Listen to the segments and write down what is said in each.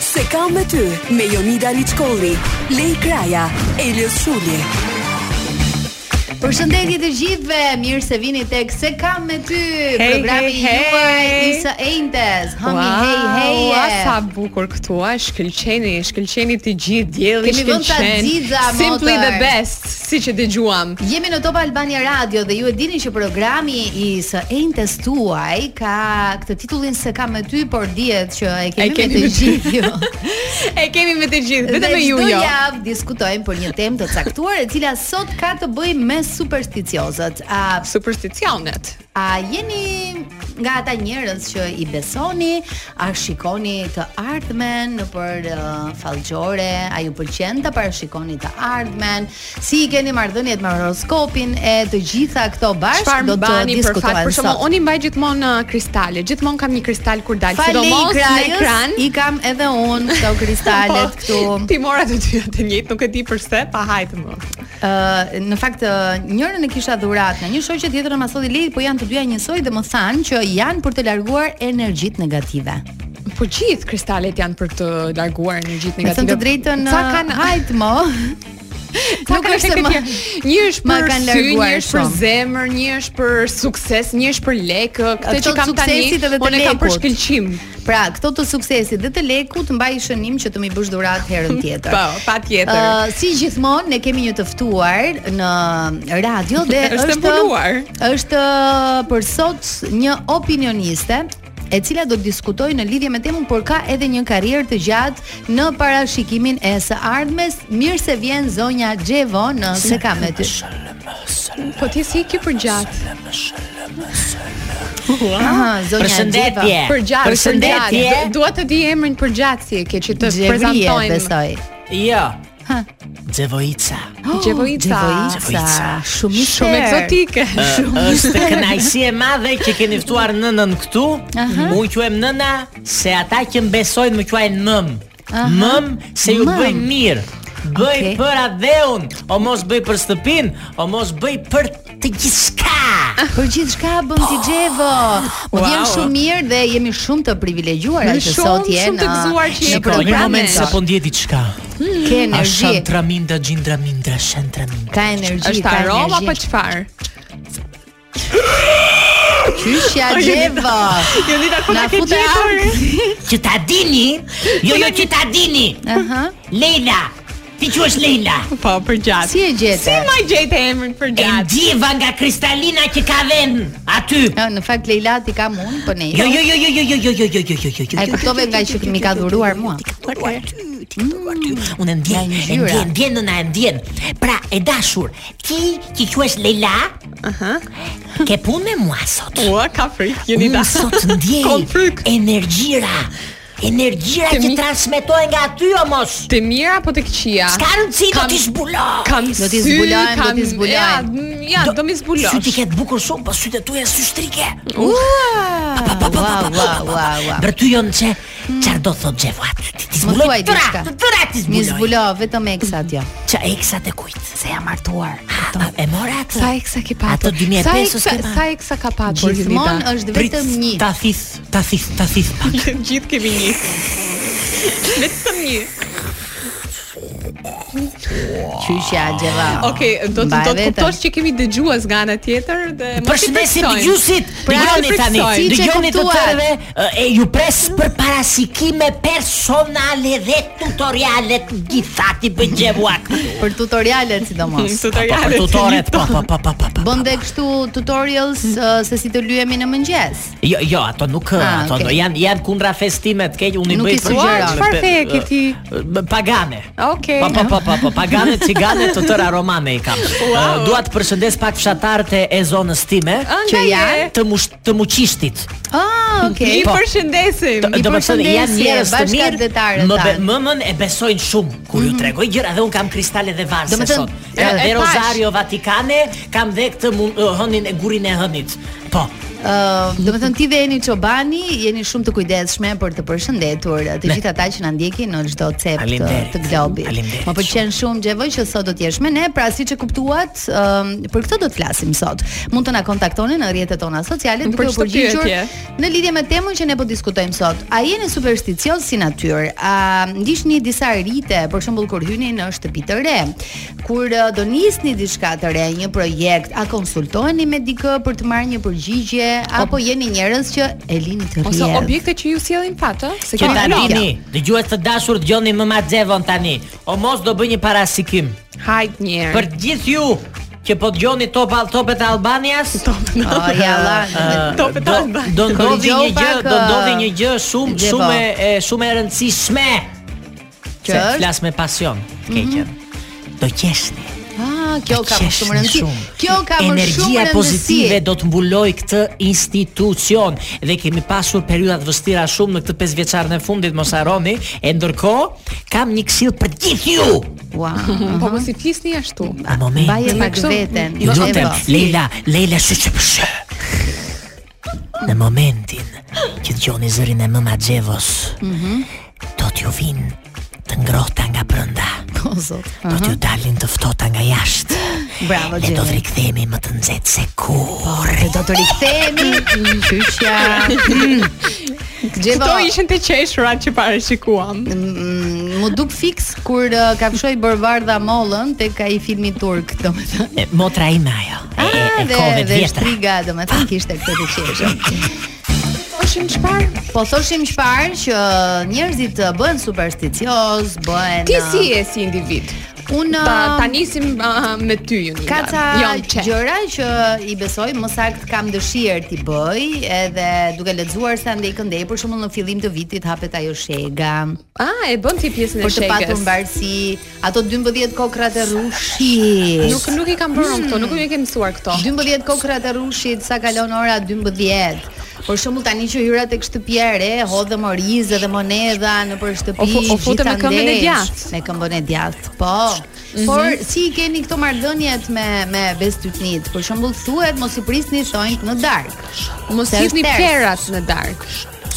Se kam me ty me Jonida Liçkolli, Lej Kraja, Elios Shuli. Përshëndetje të gjithëve, mirë se vini tek Se kam me ty, programi hey, hey. juaj i së ejntes. Hami hey Wow, a sa hey. bukur këtu, a shkëlqeni, shkëlqeni të gjithë dielli, Kemi vënë ta xixa, Simply the motor. best, siç e dëgjuam. Jemi në Top Albania Radio dhe ju e dini që programi i së ejntes tuaj ka këtë titullin Se kam me ty, por dihet që e kemi, E kemi me të me ty. gjithë ju. E kemi me të gjithë, vetëm me ju Dhe jo. çdo javë diskutojmë për një temë të caktuar e cila sot ka të bëjë me supersticiozët. A Supersticionet. A jeni nga ata njerëz që i besoni, a shikoni të ardhmen nëpër uh, fallxore, a ju pëlqen ta parashikoni të ardhmen, si i keni marrëdhëniet me horoskopin e të gjitha këto bashkë Çfarë do të mbani për fat? diskutohen Për shembull, sot. unë i mbaj gjithmonë uh, kristale. Gjithmonë kam një kristal kur dal, Falë i sidomos në krajës, ekran. i kam edhe unë këto kristalet Po, këtu. Ti mora të dyja të njëjtë, nuk e di pse, pa hajtë më. Ë, Uh, në fakt ë, njërën e kisha dhurat nga një shoqe tjetërën ma sot i lej, po janë të dyja njësoj dhe më thanë që janë për të larguar energjitë negative. Po gjithë kristalet janë për të larguar energjitë Me negative. thënë të drejtën, uh, Ca ë, kanë hajt mo. uh, Nuk është se ma- më një është ma për kanë sy, një larguar është për shumë. zemër, një është për sukses, një është për lekë. Këtë Ato që kam tani, suksesit edhe të unë e kam për lekut. shkëlqim. Pra, këto të suksesit dhe të lekut mbaj shënim që të më i bësh dhuratë herën tjetër. Po, patjetër. Ë, si gjithmonë ne kemi një të ftuar në radio dhe Është e mbuluar. Është uh, për sot një opinioniste e cila do të diskutojë në lidhje me temën, por ka edhe një karrierë të gjatë në parashikimin e së ardhmes. Mirë se vjen zonja Xhevo në se kam me ty. Po ti si ke për gjatë? Aha, zonja Ah, Përshëndetje. Xheva. Për gjatë. Përshëndetje. për gjatë. Dua të di emrin për gjatë si e ke që të Xhevrie prezantojmë. besoj. Jo. Ha. Xevoica. Oh, Xhevoica. Xhevoica. Shumë i Shumë sherr. eksotike. Është kënaqësi e madhe që keni ftuar nënën këtu. Aha. Unë quhem nëna, se ata që më besojnë më quajnë mëm. Aha. Mëm se ju Mëm. bëj mirë. Bëj Okej. për adeun, o mos bëj për shtëpinë, o mos bëj për të gjithçka. Për gjithçka bën ti Xhevo. U Wow. vjen shumë mirë dhe jemi shumë të privilegjuar Ne që shumë, sot je shumë në të gëzuar që në je këtu. Një programin moment se sot. po ndje diçka. Hmm, ke A energji. traminda, gjindra mindra, shan traminda. Ka energji, Është ka aroma apo energji. çfarë? Qyshja Xhevo. Jo dita ku Na na ke fute gjetur. Që ta dini, jo jo që ta dini. Aha. Leila, ti quhesh Leila. Po, për gjatë. Si e gjete? Si më gjete emrin për E gjatë? ndjeva nga kristalina që ka vënë aty. Ja, Në fakt Leila ti kam unë, po ne. Jo, jo, jo, jo, jo, jo, jo, jo, jo, jo, jo, jo, jo. A e kuptove nga që mi ka dhuruar mua? Ti ka po dhuruar ty, jo, ti ka dhuruar ty. Unë e ndjen, Nga e ngjyra. ndjen, ndjen nëna e ndjen. Pra, e dashur, ti që quhesh Leila, Aha. ke punë me mua sot. Ua, ka frikë, jeni Unë da. sot ndjej Kom frikë. energjira. Energjira Të që mi- transmetohet nga aty o mos. Të mira apo të këqija? S'ka rëndësi do Kam- t'i zbulo. Kam Do t'i sy, zbulojmë, do kam- t'i zbulojmë. Ja, ja, do mi Syti zbulosh. ke të bukur shumë, po sytë tuaja sy shtrike. Ua, ua, ua, ua, ua. Për ty jon çe, çfarë do thot Xhevo aty? Ti ti Më thuaj zbuloj tëra, diçka. të tëra ti Mi zbuloj. zbulo vetëm jo. eksa atje. Ça eksa të kujt? Se jam hartuar. A, a, E mora atë. Sa eksa ke po, patur? Ato 2005 Sa eksa- s'ke marrë. Sa eksa ka patur? Gjithmonë është Prit, vetëm një. Ta thith, ta thith, ta thith pak. Gjithë kemi një. Vetëm një. Qyshja Xheva. Okej, do të Ah, Mbaj do të vetëm. kuptosh që kemi dëgjues nga ana tjetër dhe Po, mos i Përshëndesim friksojmë. dëgjuesit. Pra, Dëgjoni të tani, friksojmë. Si që dëgjoni të kuptuat. tërëve, ë, e ju pres për parashikime personale dhe tutoriale të gjitha ti bëj Xhevo aty. Për tutorialet Në sidomos. Po Tutorialet. për tutoret, po po po po po. po. Bën dhe kështu tutorials ë, se si të lyhemi në mëngjes. Jo, jo, ato nuk Ah, ato okay. do janë janë kundra festimet, keq unë i Nuk bëj i për- sugjeroj. për- Çfarë feje ke ti? b- Pagane. Okej. Po po po po po pagane cigane të tëra romane i kam. Wow. Dua të përshëndes pak fshatarët e- e zonës time Ënda Që je. janë të mush, të muqishtit. Ah, okay. I Po. përshëndesim. Të- i Do të thonë janë përshëndesje njerëz të mirë. bashkëkatetarët Më be- tanë. mëmën e besojnë shumë kur ju tregoj gjëra dhe un kam kristale dhe varse Do të sot. Eh, thënë, Dhe e- e pash. eh, Rosario Vatikane kam dhe këtë mun- hënin e gurin e hënit. Po. Ë, do të thënë Uh, ti dhe jeni Çobani, jeni shumë të kujdesshme për të përshëndetur të gjithë ata që na ndjekin në çdo cep të, Faleminderit. të globit. Faleminderit Më pëlqen shumë Xhevo që sot do të jesh me ne, pra siç e kuptuat, ë, për këtë do të flasim sot. Mund të na kontaktoni në rrjetet tona sociale Për duke u çdo përgjigjur pyetje. në lidhje me temën që ne po diskutojmë sot. A jeni supersticioz si natyrë? A ndiqni disa rite, për shembull kur hyni në shtëpi të re, kur ë, do nisni diçka të re, një projekt, a konsultoheni me dikë për të marrë një përgjigje apo jeni njerëz që e lini të Ose rrjedh? Po, objekte që ju sjellin fat, ë? Se Që kemi tani blok. ni, dëgjues të dashur, dëgjoni më ma xevon tani. O mos do bëj një parasikim Hajt një herë. për gjithë ju që po dëgjoni top al topet e Albanias. O, ja, la, Do Topet e Albanias. do ndodhi Korrigjo një pak, gjë, do ndodhi ë, një gjë shumë Xhevo. shumë e- e shumë e rëndësishme. Që Se është? Mhm. flas me pasion, të keqen. Do qeshni. Ah, kjo do ka më shumë qeshni rëndësi. shumë. Kjo ka më shumë rëndësi. Energjia pozitive do të mbuloj këtë institucion dhe kemi pasur periudha të vështira shumë në këtë 5 vjeçarën e fundit, mos harroni. E ndërkohë, kam një këshill për gjithë ju. Wow. Po mos i flisni ashtu. Në moment. Baje pak Kështu- veten. Ju lutem, Evo. Leila, Leila SHPSH. Në momentin që dëgjoni zërin e Mëma Xhevos, Mhm. do t'ju vinë të ngrohta nga brenda. O, zot. Do t'ju Mhm. dalin të ftohta nga jashtë. Bravo Ne do të Xhevo. rikthehemi më të nxehtë se kur. E do të rikthehemi. Qyçja. Xhevo, Këto ishin të qeshurat që parashikuam. mm, mu duk fiks kur uh, kafshoi Bërvardha mollën tek ai filmi turk, domethënë. E, Motra ime ajo. E, e, e kove Ah, dhe, të dhe vjetra. shtriga, domethënë kishte këtë të qeshur. Ishin çfarë? Po thoshim çfarë që njerëzit uh, bëhen supersticioz, bëhen Ti uh, si je si individ? unë Ta, uh, ta nisim uh, me ty ju një. Ka ca jam qe. gjëra që i besoj, më sakt kam dëshirë t'i bëj, edhe duke lexuar sa ndej këndej, për shembull në fillim të vitit hapet ajo shega Ah, e bën ti pjesën e për të patur shegës. mbarësi, ato 12 kokrat e rushit. Nuk nuk i kam bërë unë këto, nuk më ke mësuar këto. 12 kokrat e rushit, sa kalon ora 12. Për shembull tani që hyra tek shtëpia e re, hodhëm orizë dhe monedha nëpër shtëpi. O fu- o futem me gjithandej, këmbën e djathtë. Mhm. Me këmbën e djathtë, po. Por si i keni këto marrëdhëniet me me bestytnit? Për shembull thuhet mos i prisni thonjt në darkë. Mos Se hidhni është ters. perat në darkë.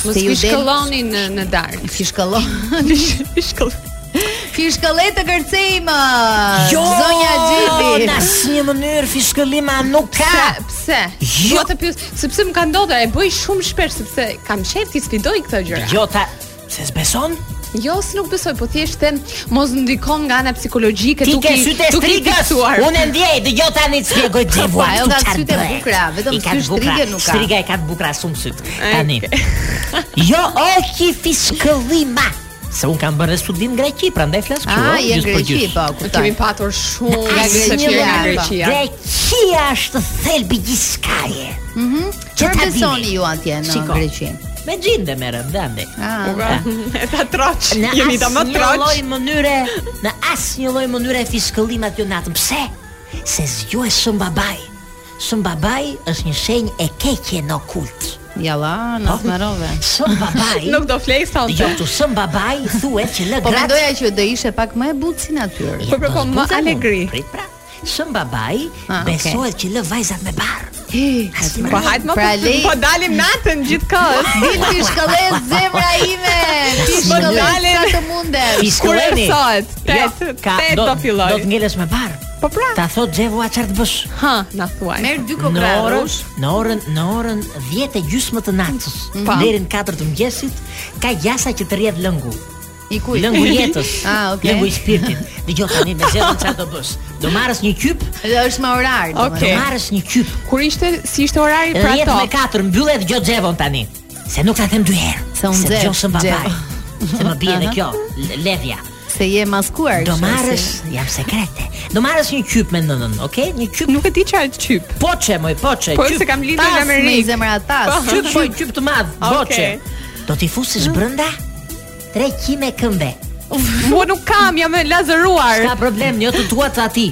Mos Se ju del- fishkëlloni në në darkë. Fishkëllon. Fishkëllet të kërcejmë. Jo, zonja Xhepi. në asnjë mënyrë fiskëllima nuk Pse? ka. Pse? Jo. Jo të pyes, sepse më ka ndodhur, e bëj shumë shpesh sepse kam shef ti sfidoj këto gjëra. Jo ta, se s'beson? Jo, s'nuk nuk besoj, po thjesht them mos ndikon nga ana psikologjike, Ti tuk ke i- sytë e tuk i strigës. fiksuar. Unë e ndjej, jo, dëgjoj tani të shpjegoj xhevu. ajo ka sytë e bukura, vetëm sy shtrige nuk ka. Striga e ka të bukura shumë syt. Tani. jo, o ki fiskëllima. Se un kam bërë dhe studim greqi, prandaj flas këtu. Ah, o, je gjysë për greqi, gjysë. po, Kemi kuptoj. patur shumë nga Asnjë Greqia, nga lajm. Greqia. Greqia është thelbi gjithçkaje. Çfarë ta bini? besoni ju atje në Shiko. Greqi? Me gjinde merrem dhe andej. Ah, E ta troç. Në Jemi ta më asnjë troç. lloj mënyre, në asnjë lloj mënyre fiskëllimat jo natën. Pse? Se zgjuaj shumë babaj. Shumë babaj është një shenjë e keqe në okult. Jalla, në smarove. Shumë babaj. Nuk do flej Jo, sonte. tu shumë babaj thuhet që lë Po gratë. mendoja që do ishe pak më e butë si natyrë. po, po, më alegri. Prit pra. Shumë babaj Ah, okay. besohet që lë vajzat me barë. Asnjë Po mënyrë. hajt më Pra, po- lej- po dalim natën gjithkohës. Dil ti shkëllet zemra ime. Ti Asnjë shkëllet mënyrë. sa të mundesh. Kur Fiskëlleni. erësohet? Jo, Tet, ka- tet do filloj. Do të ngeles me barë. Po pra. Ta thot Xhevu a çfarë të bësh? Ha, na thuaj. Merr dy Në kokra orën, rush. në orën, në orën 10 e gjysmë të natës, Mm. Pa. deri në 4 të mëngjesit, ka gjasa që të rrjedh lëngu. I kuj. Lëngu jetës. Ah, okay. Lëngu i shpirtit. Dëgjoj tani me zemrën çfarë do bësh. Do marrësh një kyp, Dhe është me orar. do Okej. domethënë. marrësh një kyp. Kur ishte si ishte orari Edhe pra 10 to? me 4 mbyllet dëgjoj xhevon tani. Se nuk ta them dy herë. Se unë dëgjoj nxesh, shumë babaj. Xhevo. Se më bie edhe kjo l- ledhja. Se je maskuar. Do kështu, marrësh, si. jam sekrete. Do marrësh një kyp me nënën, okay? Një kyp Nuk e di çfarë qyp. poçe, moj poçe. Po kyp. se kam lindur në Tas me i Amerikë. zemra tas. Qyp, po, qyp të madh, boçe. Okej. Do t'i fusish brenda 300 këmbe. Po nuk kam, jam e lazeruar. S'ka problem, jo të tua të ati.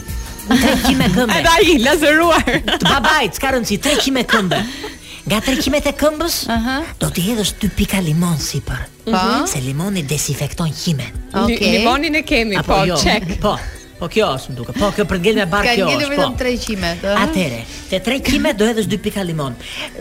300 këmbe. Edhe ai lazeruar. Të babajt, s'ka rëndësi, 300 këmbe. Nga 300 e këmbës, Aha. do t'i hedhësh 2 pika limon si për. Po. Se limoni desinfekton qimen. Okej. Limonin e kemi, po, jo, check. Po, Po kjo është më duke. Po kjo për ngel me bark Ka kjo ngelur është. Po. vetëm 3 qimet, ëh. Atëre, te 3 kime do hedhësh 2 pika limon.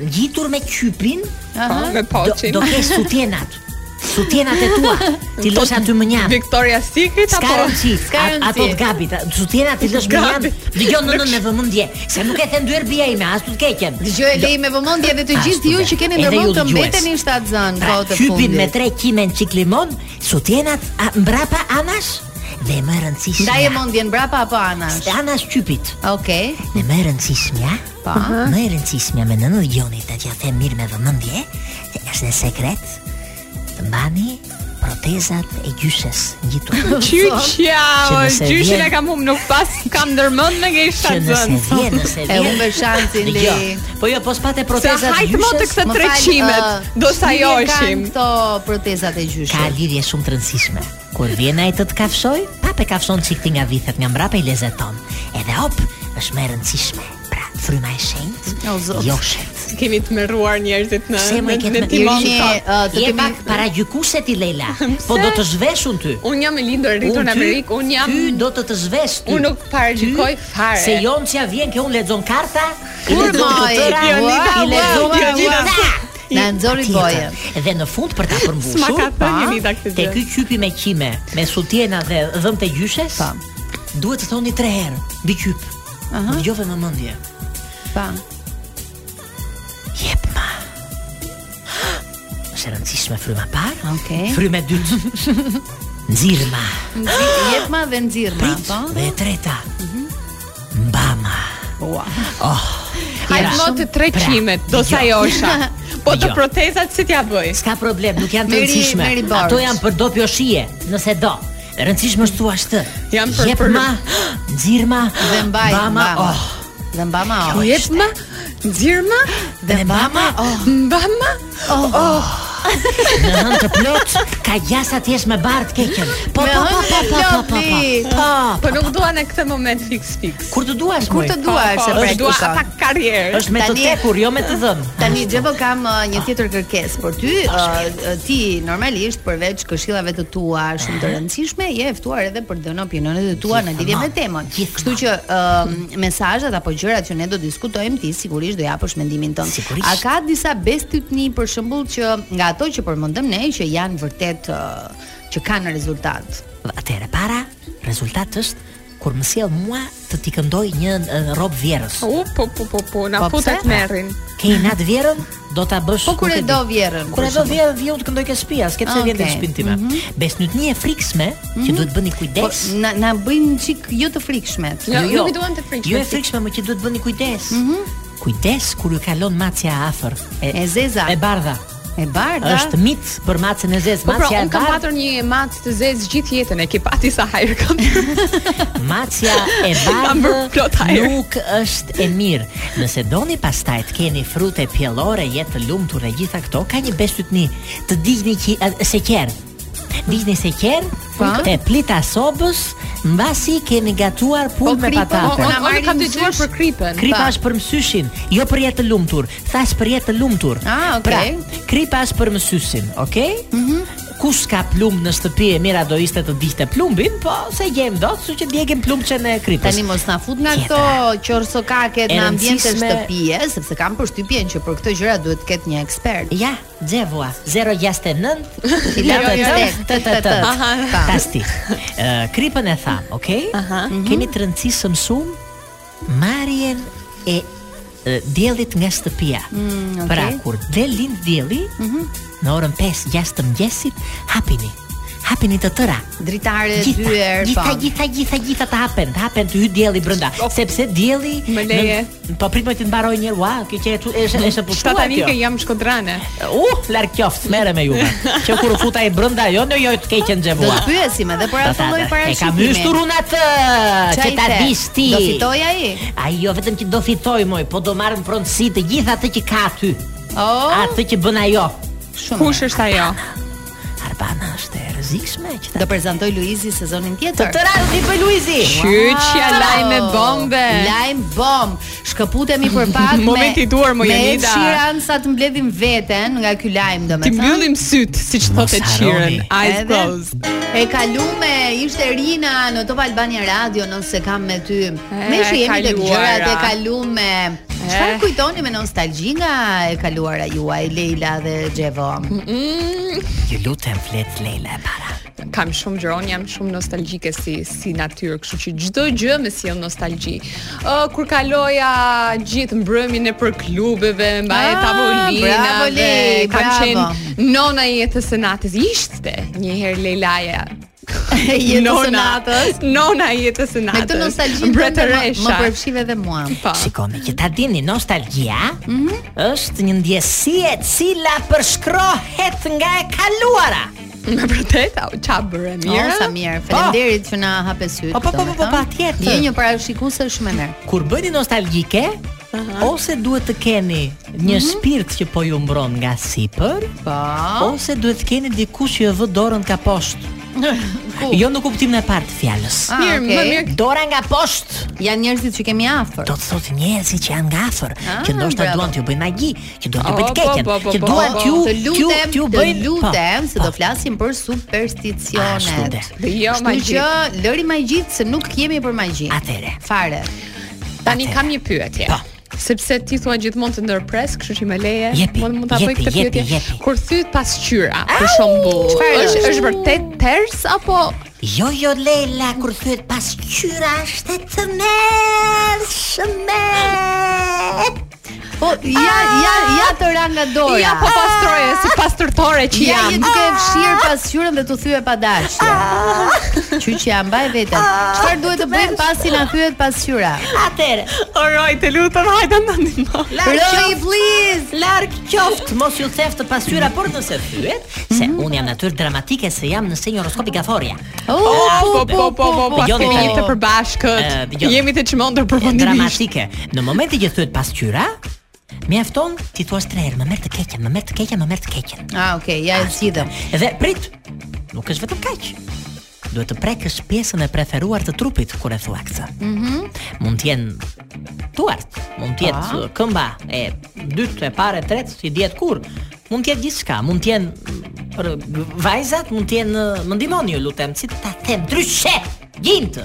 Ngjitur me kypin, Po, me do, poçin. do kesh sutjenat. Sutjenat e tua. Ti lësh aty më njëjtë. Victoria Secret Ska apo rëndësi, Ska a- po? rëndësi. apo të gabit, a- sutjena ti lësh me janë. Gabit. Dëgjon nënën me vëmendje, se nuk e them dy herë bia ime, as tu të keqen. Dëgjoj lej me vëmendje dhe të Ashtu gjithë ju dhe. që keni Edhe ju ndërmend të dëgjues. mbeteni shtatë zën Pra, kohë të hypin fundit. me 3 kime në çik limon, sutjenat a, mbrapa anash dhe më e rëndësishmja. Ndaje mendjen brapa apo anash? Anash qypit. Okej. Dhe më e rëndësishmja, Pa. më e rëndësishmja me nënën Gjonit, atë ja them mirë me vëmendje, se është në sekret. Të mbani protezat e gjyshes ngjitur. Qyçja, Që nëse gjyshin vjen- e kam humb, nuk pas kam ndërmend me ngej Që shtatë nëse zënë. vjen, nëse E vjen. humbë shansin Dhe lej. jo, Po jo, po s'pate Se protezat hajtë më të gjyshes. këta Më tre fal, qimet, ë, do sa lidhje jo kanë ishim. Këto protezat e Ka gjyshit. lidhje shumë të rëndësishme. Kur vjen ai të të kafshoj, pap e kafshon çik ti nga vithet, nga mbrapa i lezeton. Edhe hop, është më e rëndësishme. Pra, fryma e shenjtë, O, Zot. joshet. Kemi të merruar njerëzit në Pse më e në- ketë në me timon Irini, sot. ë, të Je kemi- pak para gjykuset i Leila. Po do të zhveshun ty. Unë jam e lindur e rritur Unë në ty- Amerikë, unë jam ty do të të zvesh ty. Unë nuk parashikoj Ty, fare. Se joncja vjen ke unë lexon karta, i Kur lexon moj, të tëra, Jonita, i lexon ua, të ua, gjitha. ua. Na nxori Patjetër. bojën. Dhe në fund për ta S'ma përmbushur, ka thënë Jonita këtë Te gjë. ky qypi me qime, me sutjena dhe dhëmë të gjyshes, Pa. duhet të thoni tre herë mbi qyp. Aha. Dëgjove me mendje. Pa. Jep ma. Është e rëndësishme fryma e parë. Okej. Fryma e dytë. Nxirma. Nxi- Jep ma dhe nxirr ma, Prit. po. Dhe e treta. Mbama. Ua. Hajtë më të tre Pra, Jo. qimet, do sa dëgjo. jo isha. Po të Dëgjo. protezat si t'ja bëj? S'ka problem, nuk janë të Meri- rëndësishme. Meri Barnes. Ato janë për dopjo shije, nëse do. E rëndësishme është thua shtë. Janë për- Jep për- ma, nxirma, Dhe mbaj. bama, mbama. oh. Dhe mbama. Kjo oh. Po, Jep ma, nxirma, Dhe mbama, oh. mbama, Në hënë të plot, ka gjasa t'jesh me bartë keqen. Po, po, Me po, hënë po, të po, po, plot, po, Li. po, po. po nuk dua në këtë moment fix fix. Kur të duash, Kur moj. të duash, Po, se po, prek dua kushon. ata karrierë. është me të Tani- tekur, jo me të dhënë. Tani Xhepo kam uh, një tjetër kërkesë për ty. Uh, uh, ti normalisht përveç këshillave të tua shumë të rëndësishme, je e ftuar edhe për të dhënë opinionet e tua në lidhje me Gjithmonë, temën. Kështu gjithmonë. që uh, mesazhet apo gjërat që ne do diskutojmë ti sigurisht do japësh mendimin tënd. Sigurisht. A ka disa bestytni për shembull që nga ato që përmendëm ne që janë vërtet uh, që kanë rezultat? Atëherë para, rezultati është kur më sjell mua të t'i këndoj një eh, rob vjerës. U, po, po, po, po, na Po, putet pse? merrin. Ke nat vjerën, do ta bësh. Po kur nuk e di. do vjerën? Kur për e do shembull? vjerën, vjen të këndoj ke shtëpia, s'ke pse vjen te Okej. shtëpinë time. Besnutni e frikshme që duhet bëni Po, kujdes. na, na bëjnë çik jo të frikshmet. Jo, nuk i duan të frikshme. Jo e frikshme, më që duhet bëni kujdes. Kujdes kur ju kalon macja afër. E zeza. E bardha. E bardha. Është mit për macën e zezë, Po pra, macja e unë kam bardhë. patur një mac të zezë gjithë jetën e ke pati sa hajër kam. Macja e Kam bërë plot bardhë hajër. nuk është e mirë. Nëse doni pastaj të keni frute pjellore, jetë të lumtur e gjitha këto, ka një bestytni të digni qi, a- seqer. Digni seqer Pa. te plita sobës, mbasi keni gatuar Po, pulë me kripa, Po, po, patate. na unë unë marrin kam dëgjuar zysh. për kripën. Kripa pa. është për mësysin, jo për jetë të lumtur. Thash për jetë të lumtur. Ah, okay. Pra, kripa është për mësysin, okay? Mhm. Kush ka plumb në shtëpi e mira do ishte të dihte plumbin, po se gjem dot, kështu që djegim plumbçen e kripës. Tani mos na fut nga këto Tjetra. qorsokaket E në ambiente rëndësishme- shtëpie, sepse kam përshtypjen që për këtë gjëra duhet të ketë një ekspert. Ja, Xevua 069 Aha. 488. Tasti. Ë, kripën e tham, okay? Mhm. Keni të rëndësishëm mësum marrjen e e, diellit nga shtëpia. okay. Pra kur del lind dielli, në orën 5-6 të mëngjesit, hapini. Hapini të tëra. Dritare Gjitha, dyer, po. gjitha, gjitha, gjitha, gjitha të hapen, të hapen të hy dielli brenda, sepse dielli Më leje. në- Po prit më të mbaroj një ua, kjo që e tu- është është e pushtuar. kjo. Shtatanike jam shkodrane. U, larg qoftë, merre me juve. Që kur u futa i brenda jo, në jo të keqen Do xhevua. të pyesim edhe për Ta- atë ta- lloj ta- E kam parashikimi. hyshtur unë atë Qa që i ta the? dish ti. Do fitoj ai? Ai jo vetëm që do fitoj moj, po do marr në pronësi të gjithë atë që ka aty. Oh, Atë që bën ajo. shumë. Kush është ajo? Arbana është e rëz- rrezikshme që ta Do prezantoj Luizi sezonin tjetër. Të rasti për Luizi. Qyçja Wow! lajme bombe. Lajm bomb. Shkëputemi për pak me Momenti i duar, mo, Me Jonida. Shiran sa të mbledhim veten nga ky lajm Ti domethënë. mbyllim syt, siç thotë Mos Shiren. harroni. Eyes Edhe- closed. E kalume, ishte Rina në Top Albania Radio nëse kam me ty. Me që jemi tek kaluara. gjërat e kalume. Çfarë Eh. kujtoni me nostalgji nga e kaluara juaj, Leila dhe Xhevo? Ju lutem flet Leila e para. Mm. Kam shumë gjëron, jam shumë nostalgjike si si natyrë, kështu që çdo gjë më sjell nostalgji. Ë kur kaloja gjithë mbrëmjen e për klubeve, mbaj Ah, bravo, tavolinave, Lej, kam bravo. qenë nona e jetës së natës. Ishte një herë Lelaja. Jetës së Nona- natës. Nona e jetës së Me natës. këtë nostalgji tënde më, më mbretëresha. përfshive edhe mua. Po. Shikoni që ta dini nostalgjia Mhm. është një ndjesi e cila përshkrohet nga e kaluara. Me vërtet, au, qa bërë mirë. Oh, sa mirë. Faleminderit që na hape syt. Po, po, po, po, po, domethënë. patjetër. Je një parashikuese shumë e mirë. Kur bëni nostalgjike, ose duhet të keni një shpirt që po ju mbron nga sipër, Po. ose duhet të keni dikush që ju vë dorën ka poshtë. Jo në kuptimin e parë të fjalës. Ah, Mirë, okay. më mirë. Dora nga poshtë Janë njerëzit që kemi afër. do të thotë njerëzit që janë nga afër, që Ah, ndoshta bravo. duan t'ju bëjnë magji, që duan t'ju Oh, bëjnë të keqen, po, po, po, që po, duan po. t'ju Të t'ju lutem, t'ju të bëjnë. lutem se Po, Ah, do flasim për Ashtu supersticionet. de. Jo, Kështu magji. që lëri magjit se nuk jemi për magji. Atëre. Fare. Tani Atëherë. kam një pyetje. Po. Sepse ti thua gjithmonë të ndërpres, kështu që më leje, Jepi, mund mund ta jepi, bëj këtë jepi, pyetje. jepi. Kur thyet pas qyra, për shembull, çfarë është është? është vërtet ters apo Jo, jo Leila, kur thyet pas qyra është e të mërshme. Po ja ja ja të ra nga dora. ja po pastroje si pastërtore që Ja je jam. duke e fshirë pasqyrën dhe të thye pa dashje. Qyçja mbaj veten. Çfarë duhet të bëjmë pasi na thyet pasqyra? Atëre, Oroj, të lutem, hajde na ndihmo. larg Roj qoftë, please. larg qoftë, mos ju theftë pas qyra, por nëse thyet, se unë jam natyrë dramatike se jam në shenjë horoskopi gaforja. Oh, Po po po po po, po, jemi po. jemi të përbashkët. Eh, dëgjoni. Jemi të çmendur përfundimisht. dramatike. Në momentin që thyet pas qyra, mjafton ti thua tre herë, më merr të keqen, më merr të keqen, më merr të keqen. Ah, okay, ja e zgjidhëm. Dhe prit. Nuk është vetëm kaq. Duhet të prekësh pjesën e preferuar të trupit kur e thua këtë. Mhm. mund të jenë duart, mund të jetë Po. uh, këmba e dytë, e parë, e tretë, si dihet kur. Mund të jetë gjithçka, mund të jenë mm, për g- vajzat, mund të jenë uh, më ndihmoni ju lutem, si ta them ndryshe. Gjintë.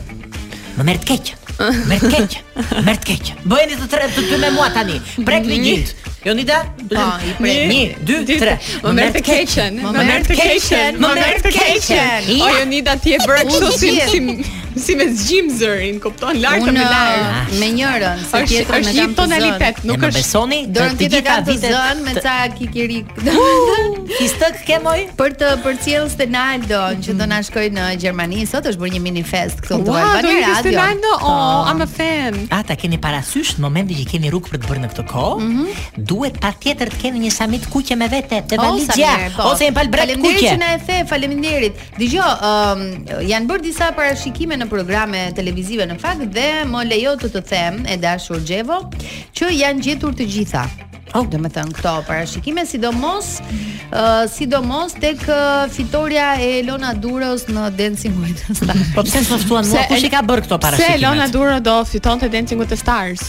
Më merr të keq. Më merr të keq. Më merr të keq. Bëjeni të tre të dy me mua tani. Prekni gjintë. Jonida, Po, i prek. 1 2 3. Më merr të keqen, më merr të keqen, më merr të keqen. Ja. O Jonida ti e bëra kështu si Unë si si me zgjim zërin, kupton, lartë me Unë ah, lartë. me njërën, se Ah, Është tjetër është me një kam të tonalitet, Nuk nuk më është besoni, të Dorën të tjetër gjitha kam të zënë me vitet. ca kikirik. domethënë. Kistok ke moj? Për të përcjellë Stenaldon që do na shkojë në Gjermani, sot është bërë një mini fest këtu në Ua, do Albania ikte Radio. Po. Stenaldo? Oh, I'm a fan. A ta keni parasysh në momentin që keni rrugë për të bërë në këtë kohë, duhet patjetër të keni një samit kuqe me vete, të valizja, ose një palbrek po. Faleminderit kuqe. që na e the, faleminderit. Dgjoj, ëm janë bërë disa parashikime në programe televizive në fakt dhe më lejo të të them, e dashur Xhevo, që janë gjetur të gjitha. Oh. Do me thënë këto parashikime, sidomos uh, sidomos tek uh, fitoria e Elona Duros në Dancing with the Stars. Po pse s'u ftuan mua? Pse- Kush i ka bërë këto Pse Elona parashikimet? Duro do fitonte Dancing with the Stars?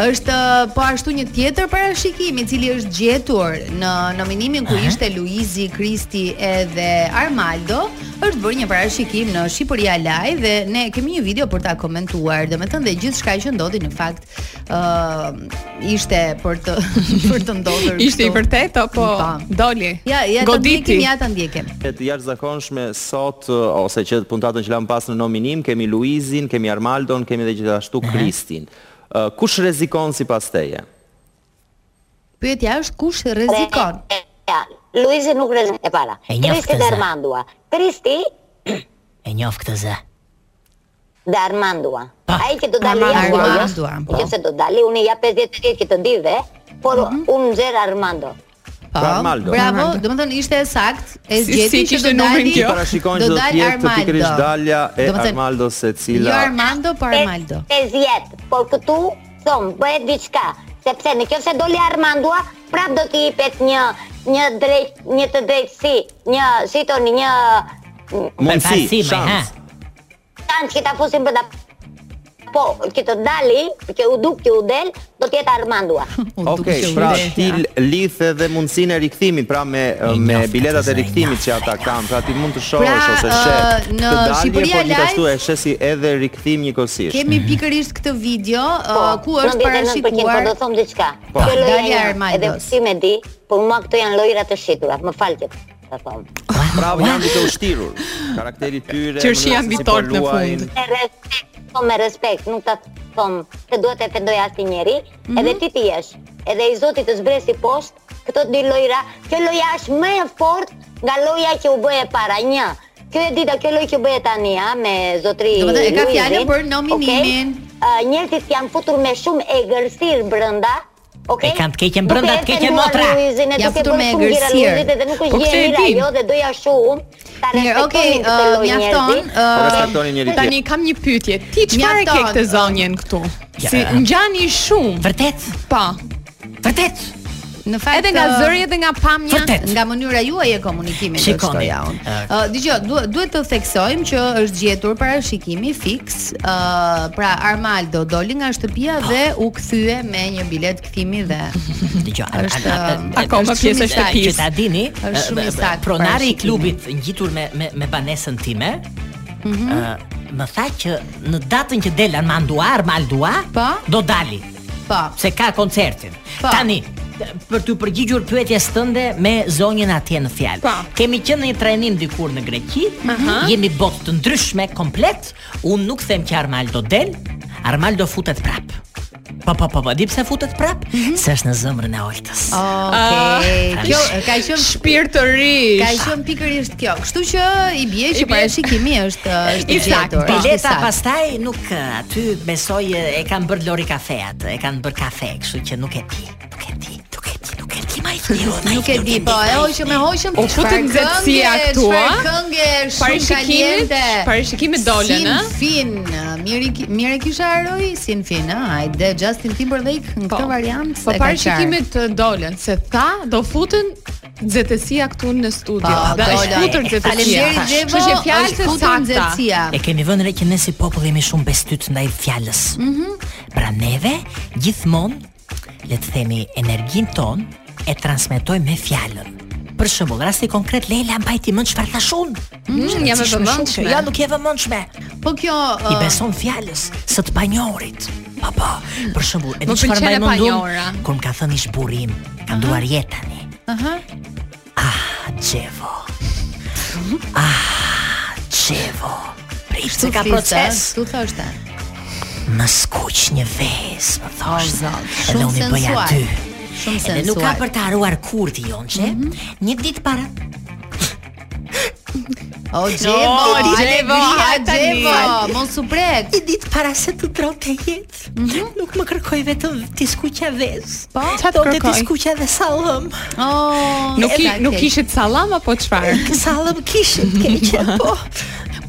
Është uh, po ashtu një tjetër parashikim i cili është gjetur në nominimin ku ishte Luizi, Kristi edhe Armaldo, është bërë një parashikim në Shqipëria Live dhe ne kemi një video për ta komentuar. Domethënë dhe gjithçka që ndodhi në fakt ë ishte për të për të ndodhur. Ishte i kështu. vërtetë apo Pa. doli? Ja, ja ta Goditi. ndjekim, ja ta ndjekim. E të jashtëzakonshme sot ë, ose që puntatën që lam pas në nominim kemi Luizin, kemi Armaldon, kemi dhe gjithashtu Mhm. Kristin. Ë, Kush rrezikon sipas teje? Jo. Pyetja është kush rrezikon? ε, Ja, Luizi nuk rrezikon e para. E njoftë Kristi zë. dhe Armandua. Kristi E njoh këtë zë. dhe Armandua. Pa. Ai që do dali Armandua. Armandua. Armandua, po. Nëse do dali unë i jap 50 vjet që të dive, por unë nxjer Armando. Po, Pra Armaldo. Bravo, domethënë ishte e saktë, e Si- zgjeti si kishte numrin dali- kjo? Para shikojnë do që do dal të jetë Armaldo. pikërisht dalja e Do me thënë, Armaldos se Jo cila Armando, po Armaldo. 50, por këtu thon bëhet diçka, sepse në qoftë se doli Armandua, prap do t'i jepet një një drejt, një të drejtësi, një si thoni, një Mundësi, Përparësime, shans. tanç që ta fusim për ta po që të dali, që u duk, që u del, do të jetë armanduar. U Ok, duk që u pra del, ti ja. lidh edhe mundësinë e rikthimit, pra me me njoftë, biletat e zë, rikthimit që ata kanë, pra ti mund të shohësh Pra, ose ë, sheh. në të dalje, Shqipëria po gjithashtu Live- e sheh si edhe rikthim njëkohësisht. Kemi pikërisht këtë video Po, uh, ku është 99%, parashikuar. Po do thom diçka. Po. Kjo loja Dalja e jam, Armandos. Edhe ti më di, por mua këto janë lojra të shitura. Më fal që ta them. Bravo, janë duke ushtirur. Karakteri i tyre, mënyra se Qershia si mbi po tort në luajnë. fund. Me respekt, po me respekt, nuk ta thom se duhet të ofendoj asnjëri, edhe ti ti jesh. Edhe i Zoti të zbresi poshtë këto dy lojra. Kjo loja është më e fortë nga loja që u bë e para. Një, kjo e dita, kjo lojë që bëhet tani ha me zotri. Domethënë, e ka Luizin, fjalën për nominimin. okej? Ë, njerëzit janë futur me shumë egërsirë brenda. Okay? E kanë të keqen brenda, të keqen motra. Janë futur me egërsirë. Dhe nuk Po është këtë e gjë e dim. mirë ajo dhe doja shumë ta Mirë, respektonin okay, ε, këtë ë, lloj mjafton. uh, njerëzi. Po ë, respektoni njëri tjetrin. Tani kam një pyetje. Ti çfarë ke Mjafton, këtë ë. zonjen këtu? Ja. Si ngjani shumë. Vërtet? Po. Vërtet? Në fakt Edhe nga ë, zëri edhe nga pamja. Vërtet. nga mënyra juaj e komunikimit do të Shikoni, shtoja unë. e- Ë dëgjoj, du- duhet të theksojmë që është gjetur parashikimi fiks. Ë pra Armaldo doli nga shtëpia dhe u kthye me një bilet kthimi dhe Dgjoj. Është, akoma shumë pjesë i e sakt. shtëpisë. Që ta dini, Është shumë i eh, sakt pronari i parashikimi. klubit ngjitur me me me banesën time, Mhm. ë, më tha që në datën që del Armandua, Armaldua, Po. do dali, Po. se ka koncertin. Po. Tani, për të përgjigjur pyetjes tënde me zonjën atje në fjalë. Po. Kemi qenë në një trajnim dikur në Greqi, Aha. jemi botë të ndryshme komplet, unë nuk them që Armaldo del, Armaldo futet prap. Po po po po, di pse futet prap? Mhm. Se është në zemrën e oltës. Okej. Ah. Kjo ka qenë Shpirt të ri. Ka qenë pikërisht kjo. Kështu që i bie që bie. parashikimi është është I i sakt, gjetur. është i Bileta sakt. pastaj nuk eh, aty besoj eh, e kanë bërë Lori kafeat, e kanë bërë kafe, kështu që nuk e di, nuk e di, nuk e di, nuk e di më i Nuk e di, po e hoqëm me hoqëm U çfarë futën nxehtësia këngë, këtu, çfarë a? këngë shumë Parashikimit- kaliente parashikimet dolën, Sin a? fin Mirë i ki- mirë e kisha haroj Sin fin, a? Hajde, Justin Timberlake Në këtë variant Po parashikimet të dolën se tha do futen nxehtësia këtu në studio. Po, Dhe dola. është futur nxehtësia. Faleminderit Xhevo, Kështu që fjalë është të futur sakta. nxehtësia. E keni vënë re që ne si popull jemi shumë bestyt ndaj fjalës. Mhm. pra neve gjithmonë le të themi energjin ton e transmetojmë me fjalën. Për shembull, rasti konkret Leila mbajti mend çfarë thash unë. Mm, jam e Shumë vëmendshme. shumë, Ja, nuk je vëmendshme. Po kjo I ë, beson fjalës së të panjorit. Po po. Për shembull, Më edhe çfarë pëlqen mbaj e panjora. mendun kur më ka thënë ish burrim, ka duar jetë tani. aha, Ah, Xhevo. Ah, Xhevo. Prit se ka tu fliste, proces. Tu thoshte Më skuq një vezë, më thoshte. zot, Edhe shumë unë i bëja sensual. aty. Shumë Edhe nuk ka sensual. për të haruar kur ti jonçe. Një ditë para. O Gjevo, No, Xhevo, Gjevo, hajde tani. Gjevo Mos u prek Një ditë para se të dronte jetë. Nuk më kërkoj vetëm ti skuqa vezë. Po, Çfarë do të ti kërkoj? skuqa dhe sallëm. Oh, Nuk i, sa nuk keq. kishit sallam apo çfarë? Sallëm kishit keqe, po.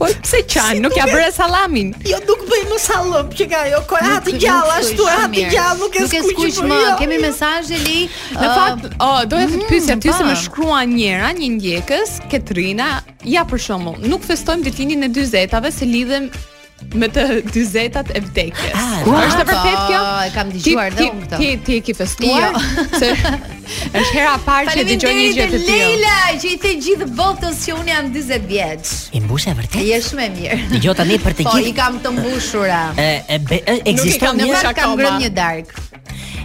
Po pse qan, nuk ja bëre sallamin. Jo nuk bëj më sallëm që ka ajo, ko ha të Nuk- gjallë nuk ashtu, skuq, ha të mirë. gjallë, nuk e jo. Nuk e skuq skuq më. Kemi mesazhe li. Në ë, fakt, oh, doja të të pyesja ty se po. më shkruan njëra, një ndjekës, Katrina, ja për shembull, nuk festojmë ditën e 40-tave se lidhem me të 40-tat e vdekjes. A Ah, është e po, vërtet kjo? e kam dëgjuar Ti- dhe ti- unë këtë. Jo. Ti ti e ke festuar? se është hera e parë që dëgjoj një gjë Faleminderit të tillë. Leila që i the gjithë botës që unë jam 40 vjeç. I mbush e vërtet? Je shumë e mirë. Dëgjoj tani për të Po i gjithë. kam të mbushura. E, e, be, e ekziston kam Në një fakt kam akoma. ngrënë një dark.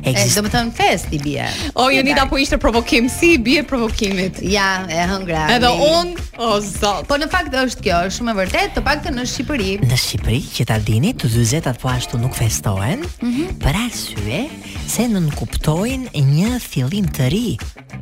E, do ekziston më thënë fest i bje. O Jonida po ishte provokim, si i bie provokimit? Ja, e hëngra. Edhe Leila. unë, o zot. Po në fakt është kjo, është shumë e vërtet, të paktën në Shqipëri. Në Shqipëri, që ta dini, të 40-at po ashtu nuk festohen, Mhm. për arsye se nënkuptojnë një fillim të ri,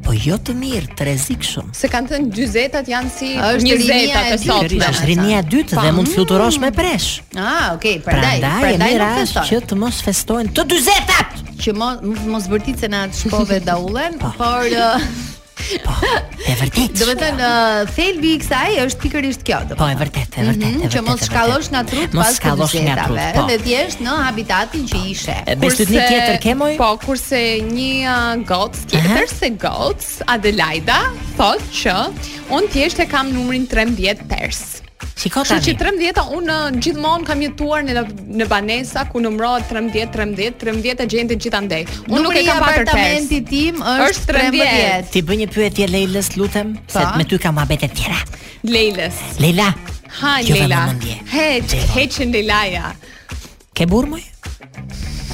po jo të mirë, të rrezikshëm. Se kanë thënë 40-tat janë si Është 20-tat rinia e e ditë. sotme. Është rinia e dytë dhe mund të fluturosh me presh. Ah, okay, prandaj, Prandaj Pra e prandaj mira nuk është feston. që të mos festojnë të 40-at. që mos mos vërtit se na atë shpove daullën, por uh, ë, Po, e vërtet. Do të thënë ë, uh, thelbi i kësaj është pikërisht kjo, do. Po, e vërtet, e vërtet, e Mhm, vërtet. që mos e vërtet. shkallosh nga trup Mos pas shkallosh nga trup, këtyzetave, po. dhe thjesht në habitatin që ishe. E Bestytni tjetër ke moj? Po, kurse një uh, gocë tjetër se gocë, Adelaida, thot që unë thjesht e kam numrin 13 pers. Shiko Kështu që tani. 13-ta unë uh, gjithmonë kam jetuar në në banesa ku numërohet 13 13 13 e gjente gjithandej. Unë nuk Numri e i kam patur pers. apartamentit tim është Është 13. 13. Ti bëj një pyetje Leilës, lutem, se Po. Pa. me ty ka muhabete të tjera. Lejles. Leila, Ha Kjo dhe Leila. më mendje. He, Leila. heqin Leilaja. ke burr moj?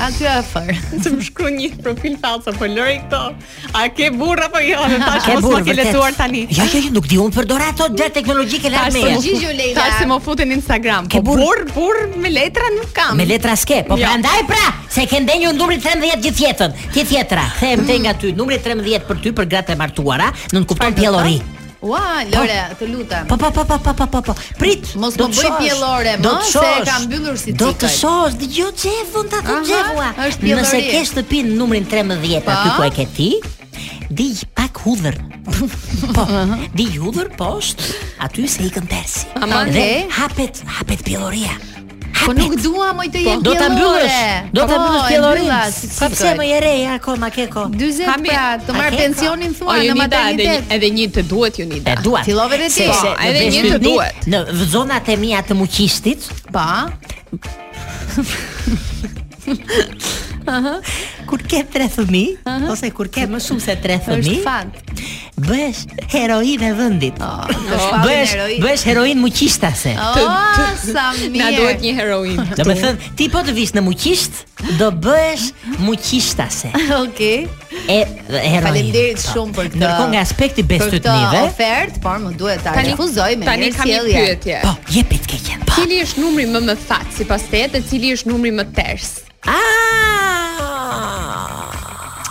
Aty afër. Të më shkru një profil falso, po lëri këto. A ke burr apo jo? Dhe Tash Ke mos burr, ma ke letuar tani. Jo, jo, jo, nuk di unë përdor ato gjë teknologjike Tash lart me. se e. më Gjigjo, Leila. Tash se më futin Instagram. Ke Po burr? burr, burr me letra nuk kam. Me letra s'ke, po Jo. prandaj pra, se ke ndenjë numrin 13 gjithë jetën. Ti tjetra, them te nga ty, numri 13 për ty për gratë e martuara, nuk kupton pjellori. Ua, Lore, të lutem. Po po po po po po po po. Prit, Mos do më bëj të shohësh, pjellore, do më, të se shohësh. e kam mbyllur si Do të jo cikël. shohësh, dëgjoj çefun ta të Aha, xhevua. është pjellori. Nëse ke shtëpinë numrin 13 aty Po. ku e ke ti, di pak hudhër. po, di hudhër poshtë, aty se ikën persi. Ama, Dhe okay. hapet, hapet pjelloria. Po nuk Po, dua më të jem Do ta mbyllësh. Do ta mbyllësh pjellorin. Po pse më më je re ja, akoma ke kohë. 40 Hami- pra, të a marr ke pensionin O, thua në Jonida, edhe, maternitet. edhe një të duhet Jonida. E duat. Fillove dhe ti. Se- se Po, në edhe një të Beshytni, duhet. Në zonat e mia të muqishtit, Pa. kur ke tre fëmijë ose kur ke më shumë se tre Është fëmijë, fat. Po, bëhesh heroinë e vendit. Të shpallin Bëhesh heroin. bëhesh heroin muqishtase. O, sa mirë. Na duhet një heroin. Do me thënë, ti po të vish në muqisht, do bëhesh muqishtase. Okej. E dhe heroin. Faleminderit Po. shumë për këtë. Ndërkohë nga aspekti Për bestytnive, këtë ofertë, por më duhet ta Tani refuzoj me Tani mirë kam një sjellje. pyetje. po, jepit ke qenë. Po. Cili është numri më më fat sipas te dhe cili është numri më ters? Ah!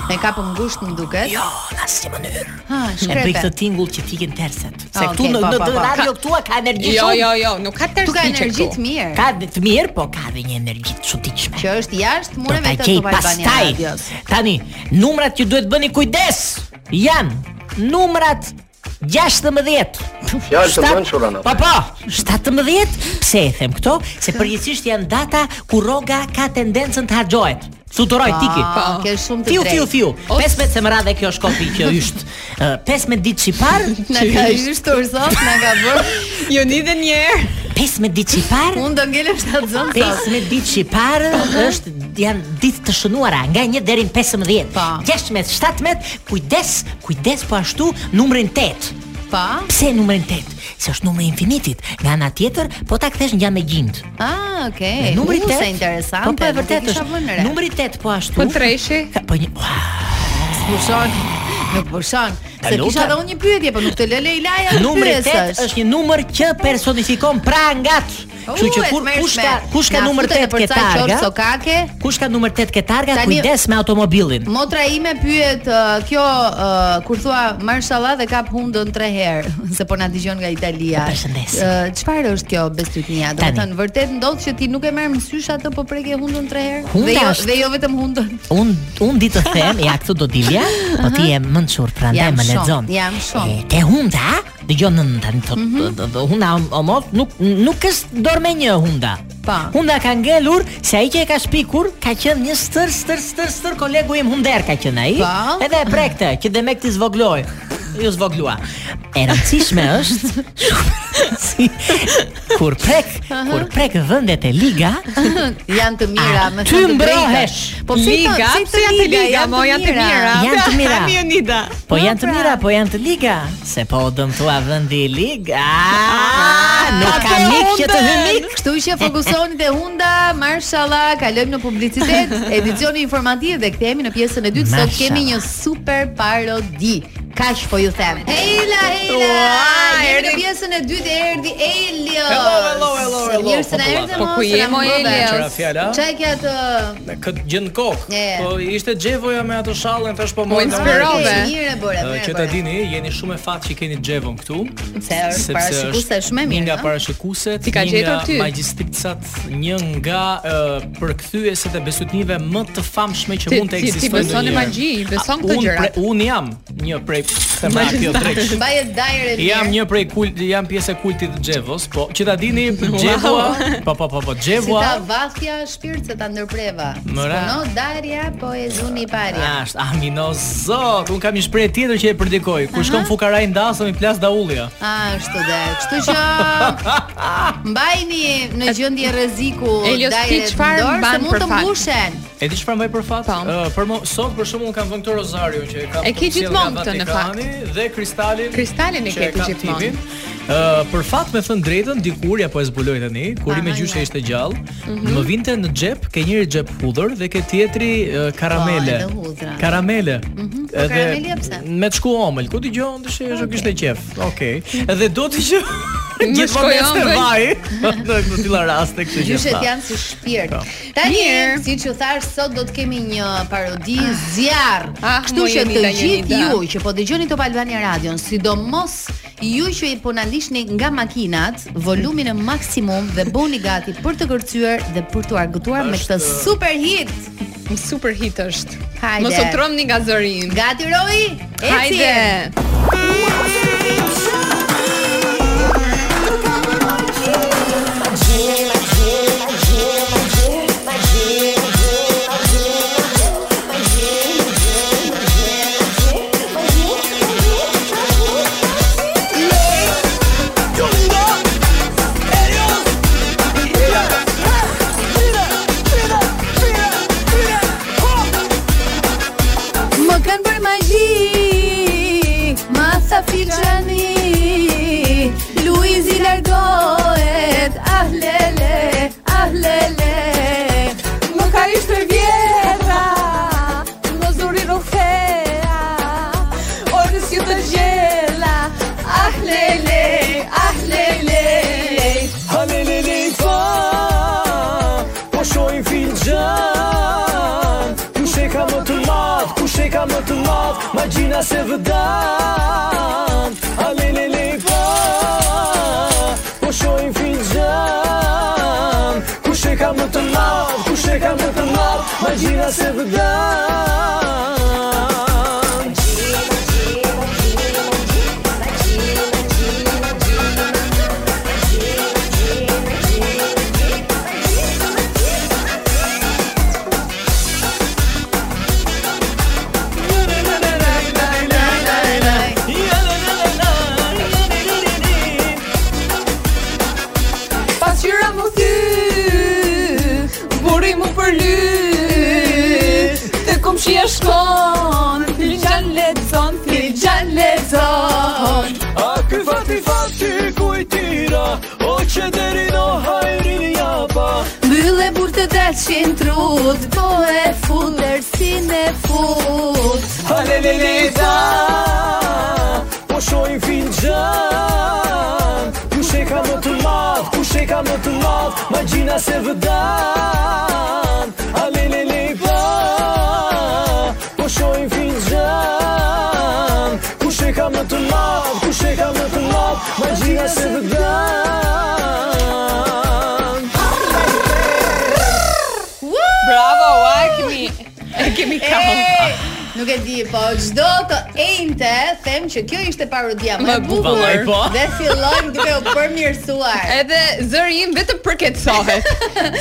Me kapën ngushtë më duket. Jo, në asnjë mënyrë. Ha, E bëj këtë shkrepe. tingull që tikin terset. Se Ah, këtu okay, po, në, në, po, në po. radio këtu a ka energji Jo, shumë. jo, jo, nuk ka ters Tu ka hiç e energji këtu. të mirë. Ka dhe të mirë, po ka dhe një energji të shutitshme. që është jashtë Do mureve ta të gjej Top Albania pastaj. Radios. Tani, numrat që duhet bëni kujdes janë numrat 16. Fjalë të Shtat- mençura në. Po po, 17. Pse e them këto? Se përgjithsisht janë data ku roga ka tendencën të harxohet. Fluturoj tiki. Po, ke shumë të Fiu drejtë. fiu fiu. Os- 15 se më radhe kjo shkopi që yst. Ë, 15 ditë çipar, Na ka hyshtur sot, na ka bërë. Jo nidhe një herë. 15 ditë çipar. Unë do ngelem shtatë zënë sot. 15 ditë shqipare është janë ditë të shënuara nga 1 deri në 15. Po. 16, 17, kujdes, kujdes po ashtu numrin 8. Pa? Pse numrin 8? Se është numri i infinitit. Nga ana tjetër, po ta kthesh nga me gjimb. Ah, okay. Dhe numri 8. Sa interesante. Po po e nuk vërtet kisha vënë re. është. Numri 8 po ashtu. Po treshi. Ka, po një ua, pushon. Nuk pushon. Se Lutem. kisha edhe unë një pyetje, po nuk të lë Leilaja të numri 8 pyesësh. është një numër që personifikon pra ngat. Kështu që U, e kur t'merrshme. kush ka kush ka Na numër futën 8 në përcaj ketarga? qorë Sokake. Kush ka numër 8 ketarga, Tani- kujdes me automobilin. Motra ime pyet uh, kjo uh, kur thua mashallah dhe kap hundën 3 herë se po na dëgjon nga Italia. Po, përshëndes. Ë, Çfarë është kjo bestytnia? Do të Tani. thënë vërtet ndodh që ti nuk e merr mësysh atë po preke hundën 3 herë? Hunda Dhe jo është- dhe jo vetëm hundën. Un un di të them, ja këtu do dilja, po ti je mençur, prandaj Jam më shumë, lexon. jam shumë. Mhm. E, Te hunda, dëgjon nën tani të të- hunda o- o mot nuk nuk është dorë me një hunda. Pa. Hunda ka ngelur, se ai që e ka shpikur ka qenë një stër stër stër stër kolegu im hunder ka qenë ai. Pa. Edhe e prekte që demek ti zvogloj. Ju zvoglua. E rëndësishme është si, kur prek, kur prek vendet e liga, Janë të mira, A, më Ah, ty thënë të mbrohesh. drejtën. Po si të, Liga, si pse janë të liga, mo, janë të mira. Janë të mira. Hami Jonida. Po Po, janë të pra. mira, po janë të liga, se po u dëmtua vendi i lig. Ah, nuk ka Atë mik që të hy mik. Kështu që fokusoni te hunda, mashallah, kalojmë në publicitet, edicioni informativ dhe kthehemi në pjesën e dytë. Sot kemi një super parodi. Kaq po ju them. Hejla, hejla. Ua, Jemi në erdhi- pjesën e dytë erdhi Elio. Hello, hello, hello, hello. Mirë se na Po, erdhe Po mos, ku se na je mo mbrove. Elios? Qëra fjala? Çaj kja të Me këtë gjë në kokë. E. Po ishte xhevoja me atë shallën tash po mojnë- inspirove. Okej, Mirë e bëre, Ë, mirë. Që e ta bëre. dini, jeni shumë e fat që keni xhevon këtu. Se është parashikuese është më mirë. Një nga ëh? parashikueset, Ti ka një gjetur nga ty? magjistricat, një nga uh, përkthyeset e besytnive më të famshme që Ti- mund të ti- ti ekzistojnë. beson në ndonjëherë. magji, beson A, këto unë gjërat. pre- Unë jam një prej Se ma kjo drejt. Mbajet dajre mirë. Jam një prej kult, jam pjesë e kultit të Xhevos, po që ta dini Xhevua, po po po po Si Xhevua. ta vathja shpirt se ta ndërpreva Mëra. S'puno darja po e zuni parja Ah, është, ah, mino zot, un kam një shprehje tjetër që e përdikoj. Kur shkon fukaraj ndasëm i plas daullia. Ashtu dhe Kështu që Mbajni në gjëndje rreziku Elios, ti darjet çfarë në dorë, mban Se mund për të fat? mbushen E di çfarë mbaj për fat? Po. Ë, për mo, sot për shkakun kam vënë këtë rozario që e kam. E ke përcjell gjithmonë nga këtë, në Vatikani Dhe kristalin. Kristalin e që ke kam gjithmonë. tipin. Ë, për fat me thën drejtën, dikur ja po e zbuloj tani, kur i me Ah, Aha, gjyshe ja. ishte gjallë, Mhm. më vinte në xhep, ke njëri xhep hudhër dhe ke tjetri ë, karamele. Po, edhe hudhra. Karamele. Mhm. Po, karamelia pse? me të shku omël, ku dëgjon, dëshë Ah, është kishte qef. Okej. Mhm. Edhe do të që gjithmonë shkoj ecte ëmbël. vaj në këtë tilla raste, kështu që. Gjyshet tha. janë si shpirt. Po. Tani, Mirë. siç u thash, sot do të kemi një parodi zjarr. Ah, Kështu moj që Jonida, të gjithë Jonida. ju që po dëgjoni Top Albania Radion, sidomos ju që i po na ndiqni nga makinat, volumin e maksimum dhe bëni gati për të kërcyer dhe për të argëtuar me këtë super hit. Një super hit është. Hajde. Mos u tromni nga zërin. Gati Roi? Eci. Hajde. Më kanë bërë magji Ma tha filqani Luizi largohet Ah lele, ah lele Më ka ishte vjetra Më zuri rofea Orës ju të gjela Ah lele, ah lele Halelele fa Po shojnë filxan Kush e ka më të madh, kush e ka më të madh Ma gjina se vëdan Halelele fa Po shojnë filxan Kush e ka më të madh, kush e ka më të madh Ma gjina se vëdan Pasqyra më thy. Burri më përly. Te komshia shkon, filxhan lexon, filxhan lexon. A ky fati fati kujtira O që derin o hajrin japa Mbyllë e burë të daqin trut Po e fut, dërsin e fut Halelele da Po shojnë finxan Kush e ka më të madh, kush e ka më të madh Ma gjina se vëdan Halelele da Po shojnë finxan Kush e ka më të madh, kush e ka më të madh Ma gjina se vëdan Bravo, Akmi. E kemi kam. E, Nuk e di, po çdo të ejnte them që kjo ishte parodia më Më e bukur. bukur. po. Dhe fillojmë duke u përmirësuar. Edhe zëri im vetëm përkeqësohet.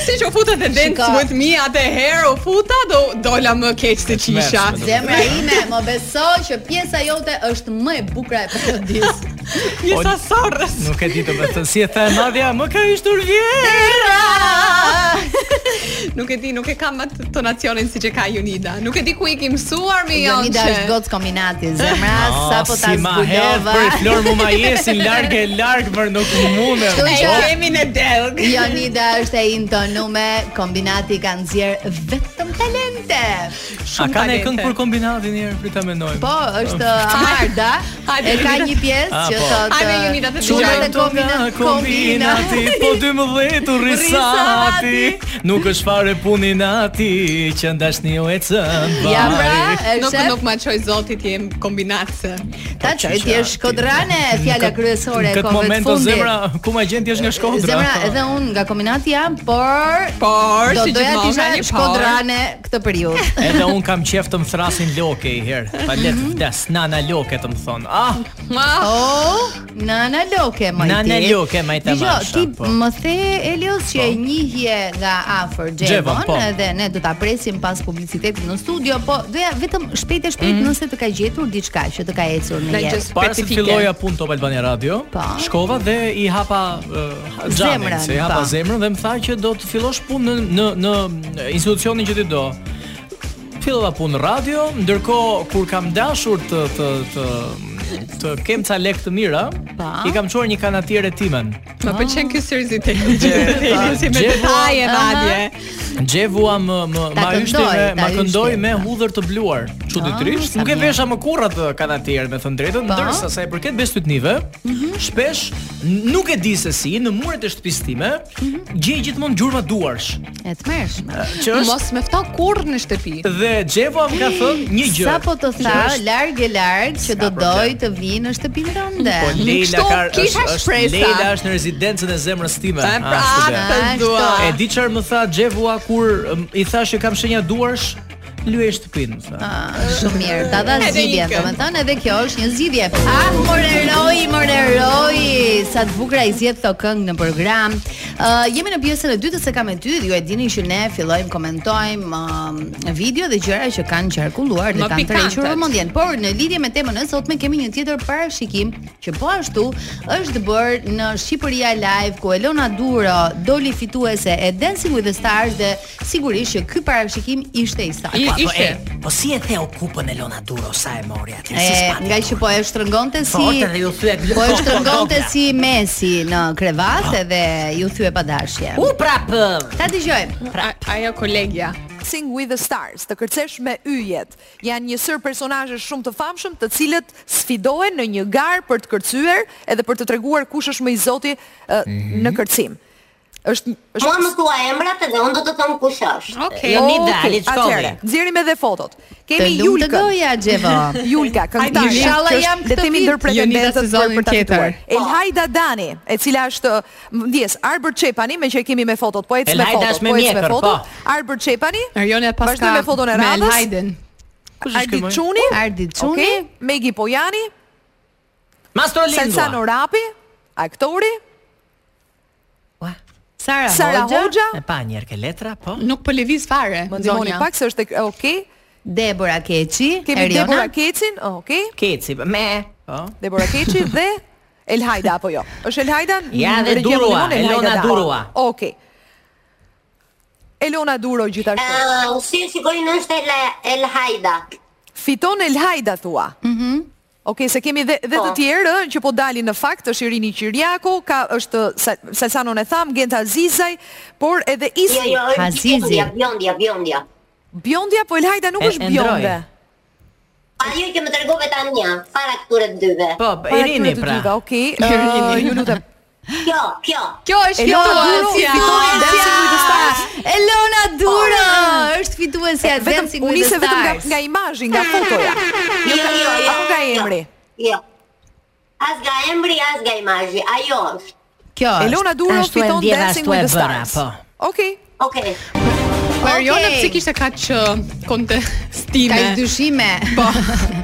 Siç u futa te dance Shiko. with me atëherë u futa do dola më keq se çisha. Mërshme, Zemra ime, më beso që pjesa jote është më e bukur e parodisë. Je sa sarrës. Nuk e di të me thënë, si e the Nadja, më ka ishtur vjetë Nuk e di, nuk e kam atë tonacionin siç e ka Jonida. Nuk e di ku i ke mësuar me Jonçe. Jonida është gocë kombinati, zemra sapo Ah, po ta Ah, si ma herë zbulova. për Flor mu ma jesin larg e larg për nuk mundem. Kështu E që kemi në delg. Jonida është e intonume, kombinati ka nxjerr vetëm talente. Po, A Shumë ka ne talente. këngë për kombinatin një herë prita mendojmë. Po, është Amarda, Hajde, e ka Jonida. një pjesë A, që po. thotë. Hajde, Jonida, të "Çuna dëgjojmë." dhe kombina- kombinati, po 12 u rrisati, nuk është fare puni nati, që ndashni ju e cën. Ja pra, e Nuk shef, nuk ma çoj zoti ti jem kombinatse. ta çoj ti është shkodrane, fjala kryesore e Këtë kohëve të moment o fundit. zemra, ku ma gjen ti është nga Shkodra? Zemra, edhe unë nga kombinati jam, por Por do si doja gjithmonë t'isha nga një por. shkodrane këtë periudhë. Edhe un kam qef të më thrasin loke i herë. Pa le të vdes, nana loke të më thon. Ah, Ma, Oh, Nana Loke, më Nana Loke, majtë Amasha, ti po. më the Elios që e njihje nga afër Xhevon Xhevon, po. edhe ne do ta presim pas publicitetit në studio, po doja vetëm shpejt e shpejt Mhm. nëse të ka gjetur diçka që të ka ecur në Na jetë. gjës- Para se të Specifike. filloja punë Top Albania Radio, Po. shkova dhe i hapa uh, xhamin, Zemrën, se i hapa po. zemrën dhe më tha që do të fillosh punë në në në institucionin që ti do. Fillova punë në radio, ndërkohë kur kam dashur të të të të kem ca lekë të mira, Pa. i kam çuar një kanatiere timen. më pëlqen ky seriozitet. Si me detaje madje. Xhevua më më Ta ma yshti këndoj, me ta ma këndoj yshti, me po. hudhër të bluar. Çuditërisht, sa nuk e mirë. vesha më kurrë atë kanatier me thënë drejtën, Po. Mhm. ndërsa sa i përket bestytnive, shpesh n- nuk e di se si në muret e shtëpisë time Mhm. gjej gjithmonë gjurma duarsh, E të mërshme. që është Mos me fta kurrë në shtëpi. dhe Xhevua më ka thënë një gjë. Sa po të tha, që është- larg e larg që S'ka do problem. doj të vi në shtëpinë tënde. Po Leila Kështu ka kisha është, është shpresa. Leila është në rezidencën e zemrës time. Ah, E pra, ashtu dhe. të dua. E di çfarë më tha Xhevua kur um, i thash që kam shenja duarsh, lyej shtëpinë, më tha. Shumë mirë, ta dha Edhe zgjidhje, ikën. domethënë edhe kjo është një zgjidhje. Ah, moreroi, moreroi, sa të bukur ai zgjedh këto këngë në program. Ë jemi në pjesën e dytë se kam e dy, ju e dini që ne fillojmë komentojmë ë, video dhe gjëra që kanë qarkulluar dhe Më kanë tërhequr pikante. vëmendjen. Por në lidhje me temën e sotme kemi një tjetër parashikim që po ashtu është bërë në Shqipëria Live ku Elona Duro doli fituese e Dancing with the Stars dhe sigurisht që ky parashikim ishte i saktë. I- Po, po, Ishte. e, po si eh, e theu kupën e Lona Duro sa e mori atë? Si E, s'pati nga kupën? që po e shtrëngonte si Po, orte dhe ju thyet Po e kokë, shtrëngonte kokë. si Messi në krevat edhe ju thye pa dashje. U Uh, prap e, Ta dëgjojmë. A- pra, Ajo kolegja. Sing with the Stars, të kërcesh me yjet. Janë një sër personazhe shumë të famshëm, të cilët sfidohen në një garë për të kërcyer edhe për të treguar kush është më i zoti ë, në kërcim. Është është Mua më thua emrat edhe unë do të them kush është. Okej. Jo, Okay. Jonida, Ali Ah, Çkolli. nxjerrim edhe fotot. Të Kemi lumë të Julkën. goja, Xhevo. Julka, këngëtare. Hajde, inshallah jam këtë Letemi ndër vit. Jonida pretendentët për, sezonin për ta tjetër. Po. fituar. Elhajda Dani, e cila është më ndjes Arbër Çepani, me që e kemi me fotot, po ecë me Elhajda fotot, është me po ecë me mjekër, fotot. po. Arbër Çepani. Arione paska. Vazhdoj me foton e me radhës. Elhajden. Ardi Çuni. Ardit Çuni. Okej, Megi Pojani, Mastro Salsano Lindua. Rapi, aktori, Sara, Sara Hoxha, E pa një herë ke letra, po. Nuk po lëviz fare. më ndihmoni zonja. pak se është e- okay. Debora Keqi, Kemi Eriona. Debora Kecin, okay. Keci, me. Po. Debora Keqi dhe Elhajda apo jo? Është Elhajda? Ja, dhe Regjia më Durua, ndihmon, Elhajda Elona da. Durua. Okej. Elona Duro gjithashtu. Uh, si e shikojnë është El, El Hajda. Fiton Elhajda thua. Mhm. Okej, se kemi dhe, dhe të Po. tjerë ë, që po dalin në fakt, është Irini Qiriaku, ka është Sa- Salsanon e tham, Genta Azizaj, por edhe Isni. Jo, jo, është Hazizi. Bjondja, Bjondja, Bjondja. Bjondja, po Elhajda nuk E- është e ndroi. bjonde. Ajo që më tregove tani, ja, para këtyre të dyve. Po, Para Irini këtyre të dyve, pra. Okej. ë, Ju lutem. Kjo, kjo. Kjo është Elona Duro fituesja. fitoi Dancing with the Stars. Elona Dura është fituesja e Vetëm Dancing u with nise the vetëm nga Stars. nga imazhi, nga fotoja. Jo, jo, jo. Apo nga jo, emri? Jo. As nga emri, as nga imazhi. Ajo është. Kjo është. Elona Duro ashtu e fiton ndjeva, Dancing ashtu e with the bëra, Stars. po. Okej. Okej. Po Arione Okej. pse kishte kaq ë, kontestime. Ka dyshime. Po.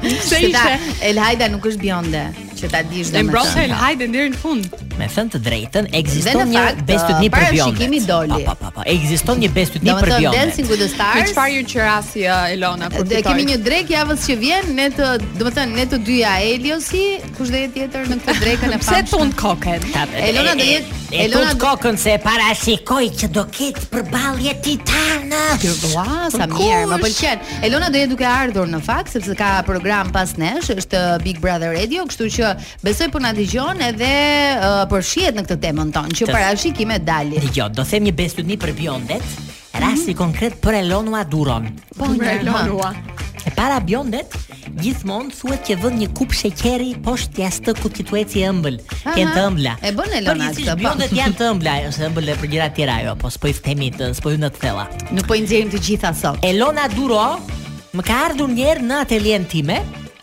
Se Se ishte. Elhajda nuk është bjonde, që ta dish Dhe mbrapa domethënë. Elhajden deri në fund. Me thënë të drejtën, Dhe ekziston në një fakt, bestytni uh, për para bjondet. shikimi doli. Po, po, po, po. Ekziston një bestytni për Domethënë Dancing bjondet. with the Me Stars. çfarë ju qirasi ë, Elona kur Dhe fitoi? kemi një drek javës që vjen, ne të, do të thënë, ne të dyja Eliosi, kush do jetë tjetër në këtë drekën e Pse famshme? ton kokën? Elona do jetë- Elona Elona do- kokën se e parashikoj që do ketë përballje titanësh. Ua, sa Për mirë, më kush? pëlqen. Elona do jetë duke ardhur në fakt sepse ka program pas nesh, është uh, Big Brother Radio, kështu që besoj po na dëgjon edhe uh, përfshihet në këtë temën tonë që Të- parashikime dalin. Dgjoj, do them një bestytni për bjondet, rasti Mhm. konkret për Elona Duron. Po, Për Elonua. E para bjondet, gjithmonë thuhet që vën një kup sheqeri poshtë jashtë të kutitueci ëmbël, Aha, janë të ëmbla. e bën Elona Përgjithsisht këtë, po. bjondet janë të ëmbla, është ëmbël edhe për gjëra të tjera ajo, po s'po i themi të, s'po ju në të thella. Nuk po i nxjerrim të gjitha sot. Elona Duro më ka ardhur një herë në atelien time.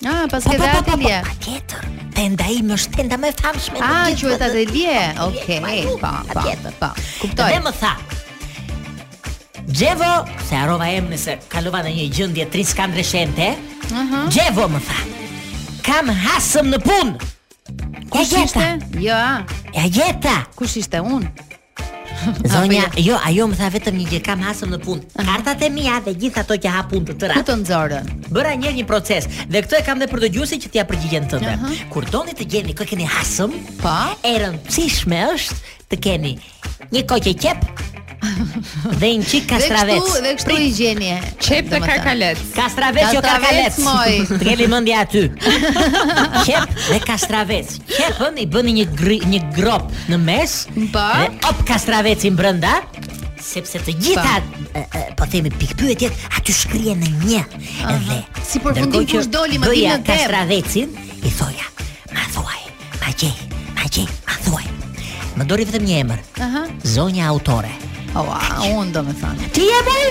Ah, Po, pas ke dhe atelje. patjetër. Tenda ime është tenda më e famshme. në Ah, gjithë quhet botën. atelje. Okej, Atelje, po, po, patjetër. po. Kuptoj. Dhe më tha Gjevo, se harova emrin se kalova në një gjendje triskandreshente. Ëh. Gjevo më tha. Kam hasëm në punë. E Kush gjeta. ishte? Jo, a, Ja gjeta. kush ishte unë? Zonja, jo, ajo më tha vetëm një gjë, kam hasëm në punë. Kartat e mia dhe gjithë ato që ha punë të tëra. Ku të nxorën? Bëra një një proces dhe këtë e kam dhe për dëgjuesit që t'ia përgjigjen tënde. Kur doni të gjeni kë keni hasëm, Po. e rëndësishme është të keni një kokë qep dhe një Dhe çik kastravec. kështu, dhe kështu i gjeni. Qep dhe domethënë. karkalet. Kastravec jo Kastravec, karkalec. moj. Të keni mendja aty. Qep dhe kastravec. Qepën i bëni një gri, një grop në mes. Po. Dhe op kastravecin brenda sepse të gjitha e, e, po themi pikpyetjet aty shkrihen në një. Edhe Si përfundim ndërkohë që kush doli, më bëja dilë në dep. Kastravecin i thoja, ma thuaj, ma gjej, ma gjej, ma thuaj. Më dori vetëm një emër. Aha. Zonja autore. Oa, unë do me thënë. Ti je boj?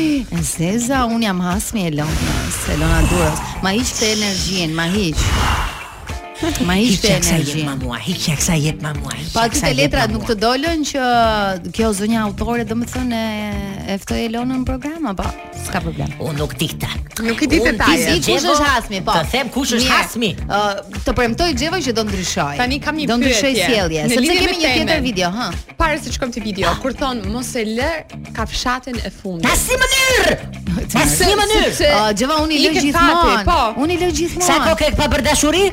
Zeza, unë jam hasmi e Elonës, Elona Durës. Ma hiq të energjin, ma hiq. Ma hiq të Hiqja kësaj jep ma energjin. mua, hiqja kësaj jep ma mua. hiqja Pa Po aty kësaj të jep letrat ma nuk mua. të dolën që kjo zonja autore do më thënë e- e ftoj Elonën në po. program, apo? S'ka problem. Unë nuk dikta. Nuk i di Ti Unë detajet. dikta si kush Gjevo, është hasmi, po. Të them kush është Mirë, hasmi. ë, të premtoj Xhevo që do ndryshoj. Tani kam një Do ndryshoj pyetje. sjellje, Në sepse lidhje kemi me një tjetër temen. video, hë. Para se të shkojmë te video, kur thon mos e lë kafshatin e fundit. Në asnjë mënyrë. Në asnjë mënyrë. Se- Ë, Xheva Ah, unë i lë Ike gjithmonë. fati, po. Unë i lë gjithmonë. Sa kokë e pa për dashuri?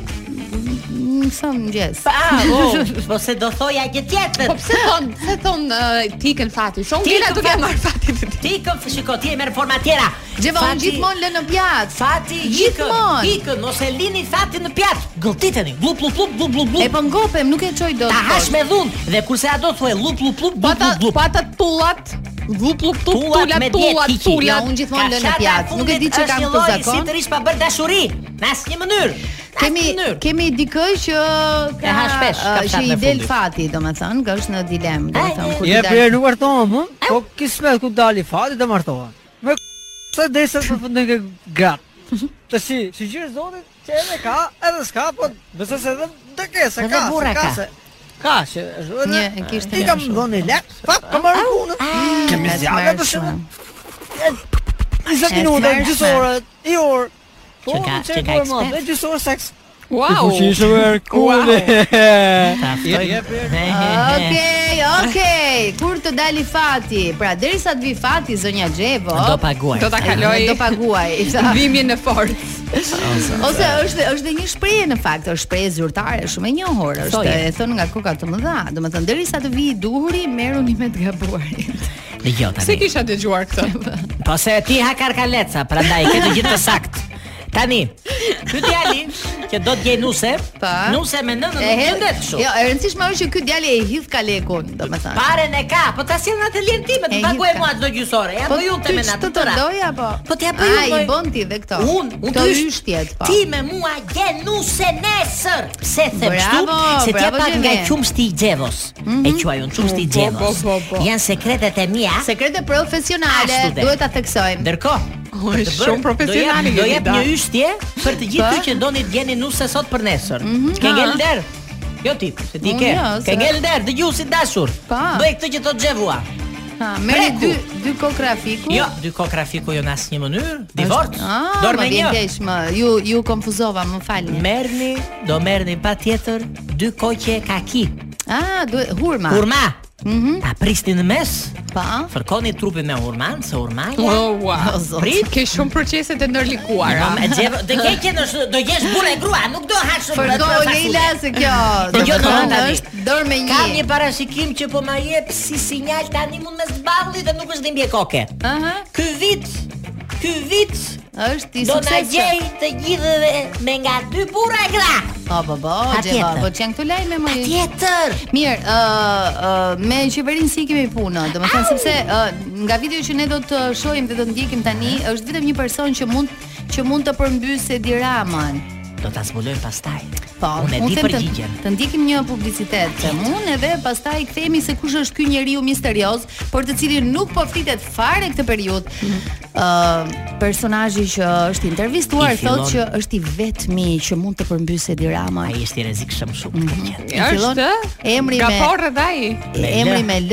Më thon mëngjes. Pa, oh, po se do thoja gjë tjetër. Po pse thon, pse thon uh, ti ken fati? Son Ti gjëra ken duke fati. marr fatin e ti. Ti këm shiko, ti e merr forma tjera. Xheva unë Fati- gjithmonë lë në pjatë. Fati Gjithmonë. ikën, ikën, mos e lini fatin në pjatë. Gëlltiteni, glup glup glup glup glup E glup. po ngopem, nuk e çoj dot. Ta hash poshtë. me dhun dhe kurse ajo thua lup lup Po lup glup Pata glup glup. pata tullat, glup glup tup Tullat tullat me tullat diet, hiqi. Ja, tullat. unë gjithmonë lë në Kafshata e pjatë. Nuk e di fundit që është kam një këtë lloj zakon. Sitërisht pa bërë dashuri, në asnjë mënyrë. në Kemi asnjë mënyrë. kemi dikë që ka E hash pesh, ka ë, që fshat i në del fundit. fati, domethënë, që është në dilemë, domethënë, kur ti Je dal- për e luar tonë, më? Po kismet ku dali fati dhe martoha. Me sa desa të fundin ke gratë. Të si, si gjyrë zotit, që edhe ka, edhe s'ka, po besoj se edhe dhe ke, se Edhe ka, burra se ka, ka. se ka, që është edhe... Një, e kishte I një kam shumë. dhënë lek, pa, ka marrë punën. Kemi Ka të zjarre marrë për shumë. shumë. Disa E minuta, tmerrshme. gjysë orë, i orë. Po, Që ka- që që ka ka ekspert. Dhe ekspert. gjysë orë seks. Wow. vërë Ta ftoj. Ah, Okej, okej. Kur të dali fati? Pra derisa të vi fati zonja Xhevo. Do paguaj. Do ta kaloj. Do paguaj. tha. Vimjen e fortë. Ose është është dhe një shprehje në fakt, është shprehje zyrtare shumë e njohur, është Thoje. e thon nga koka të mëdha. Domethënë derisa të vi i duhuri, merruni me të gabuarit. Dëgjoj Se tani. kisha dëgjuar këtë. Po se ti ha karkaleca, prandaj ke të gjithë të sakt. Tani, ky djali që do të gjej nuse, Pa. nuse me E nënën nuk hedh- gjendet kështu. Jo, e rëndësishme është që ky djalë e hidh kalekun, domethënë. Paren e ka, po ta sjell në atelien time, E të paguaj gjithë ka. mua çdo gjysore. Ja po ju te me natë të të doj apo? Po t'ja bëj unë, Ai doj. bën ti dhe këto. Un, un këto ty- yshtjet po. Ti me mua je nuse nesër. Pse them kështu? Bravo, Se t'ja bravo, pak nga Gjemi. qumshti i Xhevos. E quaj unë qumshti i Po, po, Xhevos. po, po. Janë sekretet e mia. Sekrete profesionale, Ashtu dhe. duhet ta theksojmë. Ndërkohë, O, për të është bërë, shumë profesionale Do jap, do jeni, jap da. një yshtje për të gjithë Po. ty që doni të gjeni nuse sot për nesër. Ke ngel der. Jo ti, se ti Mhm, Unë ke. jo, Ke se- ngel der, dëgjuesi dashur. Po. Bëj këtë që thotë xhevua. Ha, merri Preku. dy dy kokrafiku. Jo, dy ko grafiku jo në asnjë mënyrë. Divorc. Ah, Dorë më me vjen një. keq më. Ju ju konfuzova, më falni. Merrni, do merrni patjetër dy koqe kaki. Ah, duhet hurma. Hurma. Mhm. Ta prisni në mes, Pa. fërkoni trupin me hurman, se hurmaja. Oh, wow. O, zot. Prit, ke shumë procese të ndërlikuara. E xhevo, do ke që në- do gjesh burrë e grua, nuk do hash shumë. Fërko rrët me Leila fasule. se kjo. Po jo, domethënë, domethënë tani. është dorë me një. Kam një parashikim që po ma jep si sinjal tani mund me zballi dhe nuk është dhimbje koke. Aha, Ky vit, ky vit është i do na suksesshëm. gjej të gjithë dhe me nga dy burra e gra. Po, po, po, Xheva, Patjetër. po që janë këtu lajme më. Tjetër. Mirë, ë ë, me qeverinë si kemi punë, domethënë sepse ë, nga video që ne do të shohim dhe do të ndjekim tani, është vetëm një person që mund që mund të përmbysë Edi Ramën. Do ta zbulojmë pastaj. Po, unë e di them përgjigjen. Të, të ndikim një publicitet të unë edhe pastaj kthehemi se kush është ky njeriu misterios, por të cilin nuk po flitet fare këtë periudhë. Ë, Mhm. personazhi që është intervistuar I fillon- thotë që është i vetmi që mund të përmbysë Edi Rama. Ai është i rrezikshëm shumë. Mhm. Mm. I fillon Është emri me gaporre dhe ai. me L. emri me L,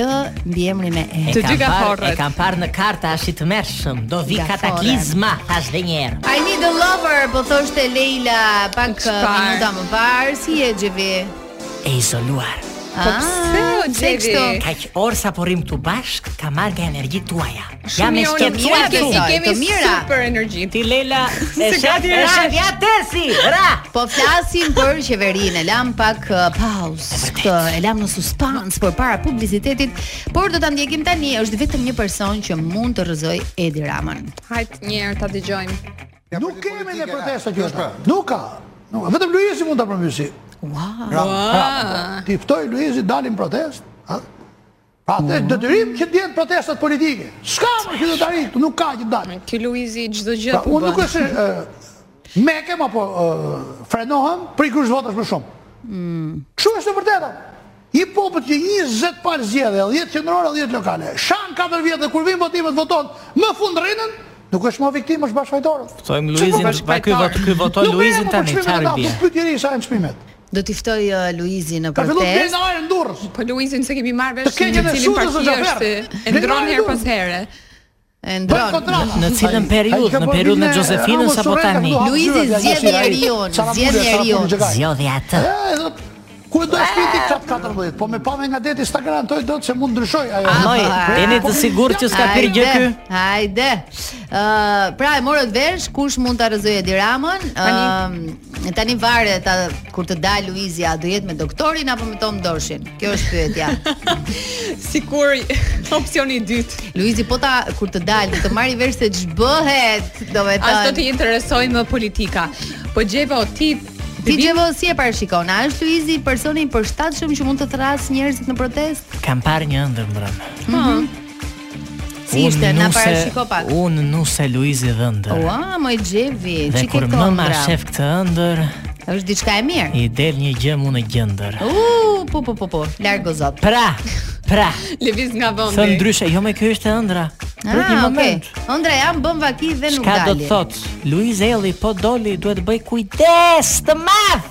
mbi emri me E. Të dy E gaporret. kam parë në karta është i tmerrshëm. Do vi Gaforre. kataklizma tash dhe një herë. I need a lover, po thoshte Leila pak uh, Në çfarë? minuta më parë, si e gjevi? E izoluar. Po Ah, pse o gjevi? Kaq orë sa po rrim këtu bashk, ka marrë nga energjit tuaja. Jam Shumë e i unë shqetësuar mirë, këtu. besoj. kemi Të mira. super energji. Ti Lela, e Se ka shef, ti e rash. shef, ja tesi, ra! Po flasim për qeverinë, e lam pak uh, pauzë këtë, e lam në suspans për para publicitetit, por do ta ndjekim tani, është vetëm një person që mund të rrëzoj Edi Ramën. Hajt një herë ta dëgjojmë. Nuk kemi ne protesta që është. pra. Nuk ka. Nuk ka. Vetëm Luizi mund ta përmbysi. Wow. Bravo. bravo. Ti ftoi Luizi dalin protest, ha? Pra atë është detyrim që të jenë protestat politike. S'ka më qytetari, këtu nuk ka që të dalin. Ky Luizi çdo gjë Pra, po unë nuk bën. është ë, mekem apo ë, frenohem për i kush votash më shumë. Kështu është e vërteta. I popët që 20 palë zgjedhje, 10 qendrore, 10 lokale. Shan 4 vjet dhe kur vin votimet voton, më fund rrinën, nuk është më viktimë, është bashkëfajtorët. Thojm Luizin, va ky vot ky votoi Nuk Luizin merrem tani, për çmimet e çfarë ta, bie? Nuk pyet njëri sa janë çmimet. Do t'i ftoj uh, Luizin në Ka filluar protestë. plenarën Durrës. Po Luizin se kemi marrë Të vesh keqen në e cilin shutës parti është është, afer. e ndron Blen herë Luiz. pas here. E Bën ndron. kontrata. Në cilën periudhë? Në periudhën e Gjozefinës apo tani? Luizi zgjedh njeriu, zgjedh njeriu. Zjodhi atë. Ku do të shpiti çat 14, po me pamë nga deti sta garantoj dot se mund ndryshoj ajo. Noi, po, jeni të po, sigurt që s'ka pirë gjë ky? Hajde, Hajde. Ë, pra e morët vesh kush mund ta rrezojë Edi Ramën? Ë, tani varet a, kur të dal Luizi, a do jetë me doktorin apo me Tom Doshin? Kjo është pyetja. Sikur opsioni i dytë. Luizi po ta kur të dal, të marrë vesh se ç'bëhet, As do të domethënë. interesoj më politika. Po Gjeva o ti Ti Gjevo si e parashikon? A është Luizi personi i përshtatshëm që mund të thras njerëzit në protestë? Kam parë një ëndër mbrëm. Si ishte? Na parashiko pak. Unë nuse Luizi dhëndër. Ua, më i Gjevi, Dhe çike kur to. më ma shef këtë ëndër, Është diçka e mirë. i del një gjë mu në gjëndër. U, po po po po, largo zot. Pra, pra, lëviz nga thë vendi. ndryshe, jo me kjo është ëndra. Për një Ah, okay. moment. Ondra jam bën vaki dhe nuk Çka do të dali. thot? Luiz Elli po doli, duhet bëj kujdes të madh.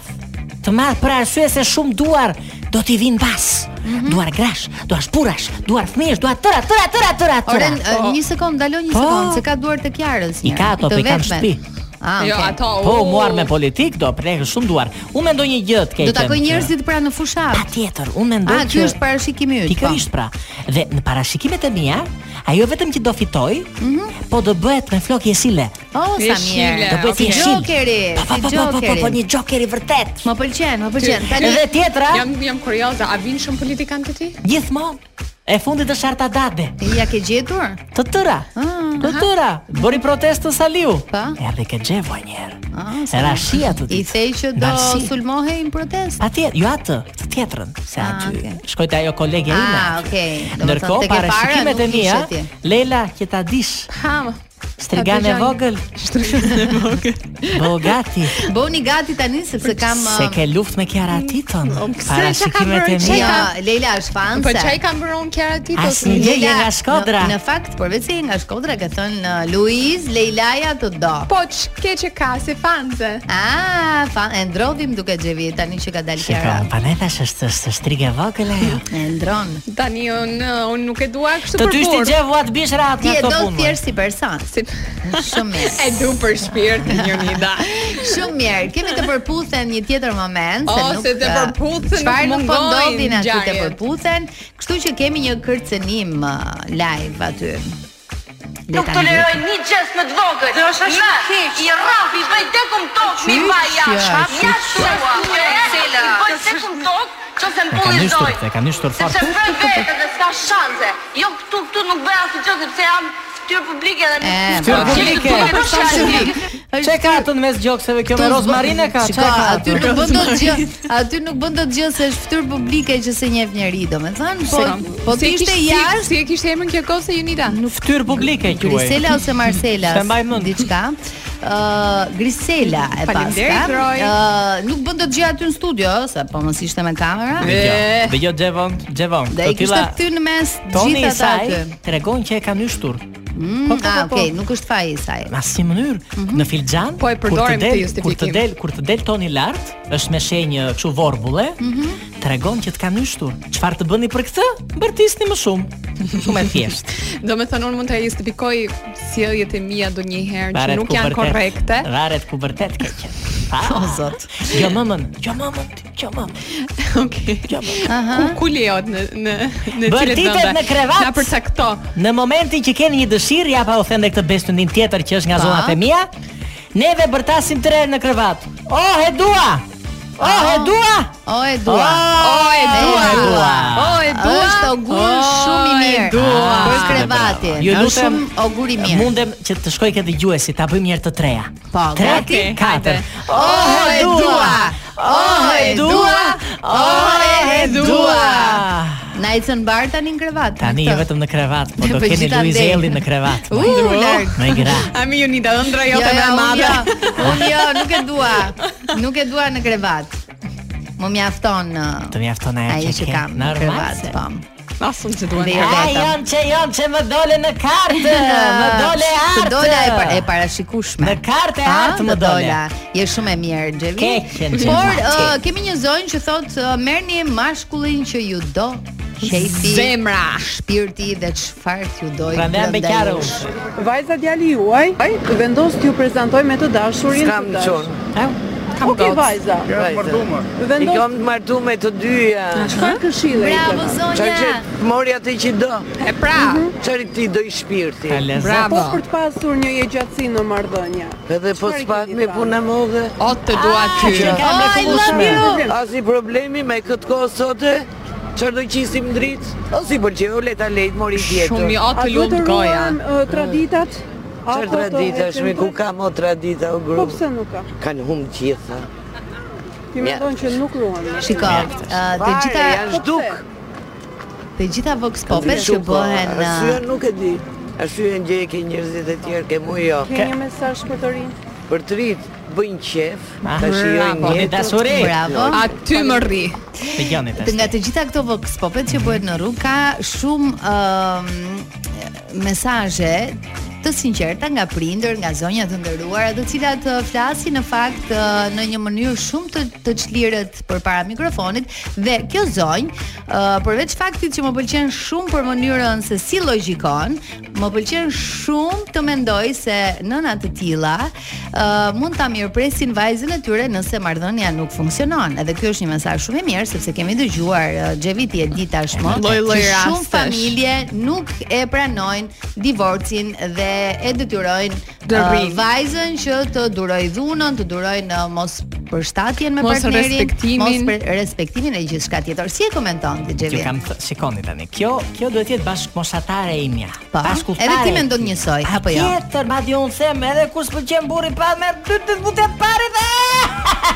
Të madh për arsye se shumë duar do t'i vinë pas. Mhm. Duar grash, duar shpurash, duar fëmijësh, duar tëra, tëra, tëra, tëra, tëra. Oren, eh, një sekond, dalo një Po. sekond, se ka duar të kjarës I ka ato, po i kam shtëpi. Ah, Jo, okay. ato. Po, u, u muar me politik, do prek shumë duar. Unë mendoj një gjë të keqe. Do takoj njerëzit pra në fushat. Patjetër, unë mendoj Ah, ky është parashikimi yt. po. Pikërisht pra. Dhe në parashikimet e mia, ajo vetëm që do fitoj, Mhm. po do bëhet me flokë jesile. Oh, sa Jeshile, mirë. Do bëhet okay. jeshil. Jokeri, Po, po, si po, po, po, po, po, Jokeri. një jokeri vërtet. Më pëlqen, më pëlqen. Tani Dhe tjetra, Jam jam kurioze, a vin shumë politikan të ti? gjithmonë e fundit është Arta Dade. ja ke gjetur? Të tëra. Ah, Të tëra. Bëri protestë të Saliu. Pa. Erdhi ke xhevo një herë. Po? Ah, Se sa- ra shi atë I ditë. thej që do Nga shi. sulmohej në protest. Atje, jo atë, të tjetrën, se Ah, aty okay. shkojte ajo kolegja ime. Ah, aty. okay. Do të Ndërkohë thonë, tek e para parashikimet e nuk mia, ishe ti. Lela që ta dish, Ha. strigan e dëgjoj. vogël, bogati. Bëuni gati tani sepse kam Se uh, ke luft me Kiara Titon pse, Parashikimet çka ka e bërë, mia Jo, Leila është fanse. Po çaj kam bërë unë kjera ti po Asnjë gjë. Leila je nga Shkodra. Në, në fakt, përveç se je nga Shkodra, ka thënë uh, Luiz, Leilaja të do. Po ç'ke që ka si fanze? Ah, fan, e ndrodhim duke xhevi tani që ka dalë Kiara. Shikon, pa ne thash është është strige e vogël ajo. E ndron. Tani unë unë nuk e dua kështu Të për ty ishte burr. gjë vuat bish rahat Ti nga e këto do punë. thjesht si person. Si- Shumë mirë. E du për shpirt një mida. Shumë mirë. Kemi të përputhen një tjetër moment se O, nuk se të uh, përputhen, çfarë nuk nuk po mungojnë ndodhin aty të ngjarjet. përputhen, kështu që kemi një kërcënim uh, live aty. Nuk një gjes më të vogël. Do është shumë keq. I rraf, i bëj dekum tok, mi vaj jashtë. Ja thua, Marcela. I bëj dekum tok, çose E ka mbulli nishtur, zoj. e ka nishtur fort. Sepse vroj vetë dhe s'ka shanse. Jo këtu këtu nuk bëj asgjë sepse jam fytyrë publike dhe E, nuk. po, publike. Çe ka atë në mes gjokseve kjo me Këtu rozmarinë zbë- ka? Çe Shiko, ka aty nuk bën dot gjë. Aty nuk bën dot gjë se është fytyrë publike që se njeh njeri, domethënë, po po të ishte jashtë Si e kishte emrin kjo kohë se Unida? Fytyrë publike quaj. Grisela ose Marcela, Se mbaj mend. diçka. ë Grisela e Faleminderit, pasta. Roy. Ë, nuk bën dot gjë aty në studio, ë, se po mos ishte me kamera. E. Dhe jo Devon, Devon. Dhe i kishte ty në mes Toni i gjithë ata saj aty. tregon që e ka nyshtur. Mm, Po, po, ah, po, po. okay, nuk është faj i saj. Në asnjë mënyrë, në filxhan, Po e kur të përdorim këtë del, kur të justifikim. del, kur të del toni lart, është me shenjë kështu vorbulle, tregon që të ka nyshtur. Çfarë të bëni për këtë? Bërtisni më shumë. Shumë e thjeshtë. Do me thënë unë mund të justifikoj sjelljet e mia do një herë që Varet nuk janë pubertet. korrekte. Varet ku vërtet keqe. O zot. Jo mëmën, jo mëmën, jo mëmën. Okej. Jo mëmën. Ku ku lejohet në në në Bërtitet në krevat. Na përcakto. Në momentin që keni një dëshirë, ja pa u them dhe këtë bestunin tjetër që është nga zonat e mia, neve bërtasim të rerë në krevat. Oh, e dua! Oh, e dua! O e dua. Oh, e dua! e dua. O e dua. Është ogur shumë i O, e mirë. dua. Për krevatin. Ah. Ju Është lutem, shumë ogur i mirë. Mundem që të shkoj këtë dëgjuesi, ta bëjmë një herë të treja. Po, Treti, gati, katër. hajde. Oh, e dua! Oh, e dua! Oh, e dua! Na i cën bar tani në krevat. Tani me je këtë. vetëm në krevat, po do Po keni gjithandej. Luiz Ellin në krevat. U, larg. Me gra. Ami Unida, ëndra Jo, jote jo, më e unë madhe. jo, unë jo, nuk e dua. Nuk e dua në krevat. Më mjafton uh, Të mjafton ajo ajo që që ke. kam në Normal krevat, se. po. Asun që duan. Dhe Ah, A vetëm. janë që janë që më dole në kartë, më dole Të artë. dola e, par, e parashikueshme. Në kartë e Ha, artë më të dole. Je shumë e mirë, Xhevi. Keqen, Xhevi, Por keq. uh, kemi një zonjë që thotë uh, merrni mashkullin që ju do. Shejti, Zemra. shpirti dhe çfarë t'ju dojë. Pra me brenda beqarë jush. ushë. Vajza djali juaj, ai vendos t'ju prezantoj me të dashurin. Kam qon. Kam Okej gocë. vajza. Mardume. I kam martu me të dyja. Çfarë këshille i Bravo zonja. mori atë që do. E pra. Çfarë ti do i shpirti. Bravo. Po, Për të pasur një jegjatsi në marrëdhënie. Edhe po s'pat me punë modhe. O të dua ty. Ka mrekullueshme. Asi problemi me këtë kohë sote, çfarë do qisim dritë? O si pëlqeu leta lejt mori tjetër. Shumë i o të lumt goja. Çfarë tradita është me ku ka mo tradita o grup? Po pse nuk ka? Kan hum gjitha. Ti mendon që nuk ruan. Shiko, uh, të gjitha janë zhduk. të gjitha vox popet që Shumë, po, bëhen arsye uh, nuk e di. Arsye ndjej ke njerëzit e tjerë ke mua jo. Ke një mesazh për të rinj? Ah, Për të rinj bëjnë qef, ta shijojnë Po, një jetën. dasuri. bravo. Aty më rri. Të gjani Të tash. nga të gjitha këto vox popet që bëhet në rrugë ka shumë ëm mesazhe të sinqerta nga prindër, nga zonja të nderuara, të cilat ë, flasin në fakt ë, në një mënyrë shumë të të çlirët përpara mikrofonit dhe kjo zonjë uh, ë, përveç faktit që më pëlqen shumë për mënyrën se si logjikon, më pëlqen shumë të mendoj se nëna të tilla ë, mund ta mirëpresin vajzën e tyre nëse marrëdhënia nuk funksionon. Edhe ky është një mesazh shumë i mirë sepse kemi dëgjuar ë, Xheviti e di tashmë Lloj-lloj që shumë rastesh. familje nuk e pranojnë divorcin dhe e detyrojnë Dërim. ë, vajzën që të duroj dhunën, të durojnë ë, mos përshtatjen me Mos partnerin, respektimin. mos pre- respektimin e gjithçka tjetër. Si e komenton ti Ju Xhevi? kam thë, shikoni tani. Kjo, kjo duhet të jetë bashkëmoshatare e imja. Po, Bashkulltare. edhe ti mendon njësoj, apo jo? Tjetër, madje unë them, edhe kur s'pëlqen burri pa merr dy të vutën parë dhe.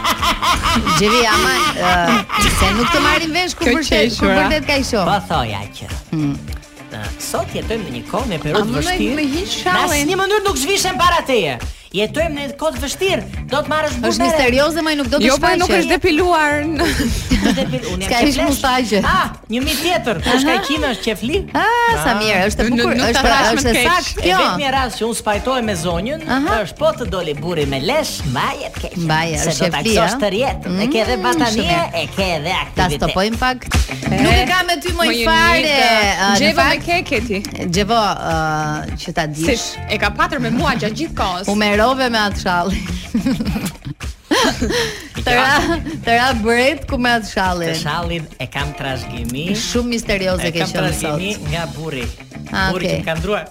Xhevi ama ë, se nuk të marrin vesh kur Kjo vërtet kur qeshura. vërtet ka i Po shoh. thoja që. Ë, Sot jetojmë në një kohë me periudhë Ama me- vështirë. me hiç Në shallin. asnjë mënyrë nuk zhvishem para teje. Jetojmë në një kohë të vështirë, do të marrësh burrë. Është misterioze, më nuk do të Jo, po shfaqej. nuk është depiluar. në- Unë S'ka jam ish qeflesh. mustaqe. Ah, një mi tjetër, kush ka qime është qefli? Ah, sa mirë, është e Nuk- bukur, nuk ta është pra, thash më është e të keq. saktë E kjo. vetmja rast që unë spajtoj me zonjën, Jo. Aha. është po të doli burri me lesh, mbaje të keq. Mbaje, se është do e ta flia. gëzosh të rjetën. e ke edhe Mm, batanie, shumë e ke edhe Ta aktivitet. stopojmë pak. Eh, Nuk e kam me ty më Mojë fare. Unida. ë, në Gjeva eh, me fakt, keke ti. Xhevo, ë, që ta Si dish. e ka patur me mua gjatë gjithë kohës. U merove me atë shallin. të ra, të ra bret ku me atë Të shallin. shallin e kam trashëgimi. Shumë misterioze E ke kam qenë sot. trashëgimi nga burri. Ah, Burri okay. që më ka ndruar.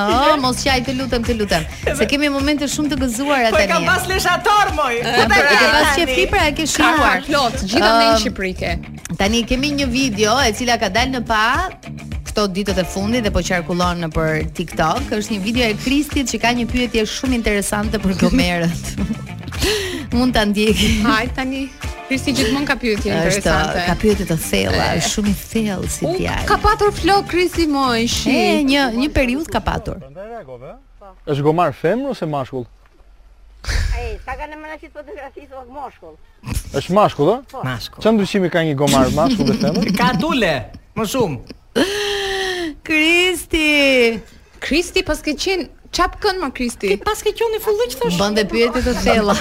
Oh, mos qaj, të lutem, të lutem. Se kemi momente shumë të gëzuara Po tani. Eh. e kam pas leshator moj. E Po, ke pas tani. qef libra, e ke Ka shijuar. plot, gjithë në Ëm, një Shqiprike. Tani kemi një video e cila ka dalë në pa këto ditët e fundit dhe po qarkullon në për TikTok. Është një video e Kristit që ka një pyetje shumë interesante për gomerët. Mund ta ndjeki. Haj tani. Kristi gjithmonë ka pyetje Është interesante. ka pyetje të thella, është shumë i thellë si U ka fjalë. patur flok Kristi moj, shi. E, një një periudhë ka patur. Është gomar femër ose mashkull? Ej, ta kanë më rashit fotografi Po. sot moshkull. Është mashkull, ë? Mashkull. Çfarë ndryshimi ka një gomar mashkull dhe femër? Ka dule, më shumë. Kristi. Kristi pas ke qen çap kënd më Kristi. Ti pas ke qenë fulluq thosh. Bën dhe pyetje të thella.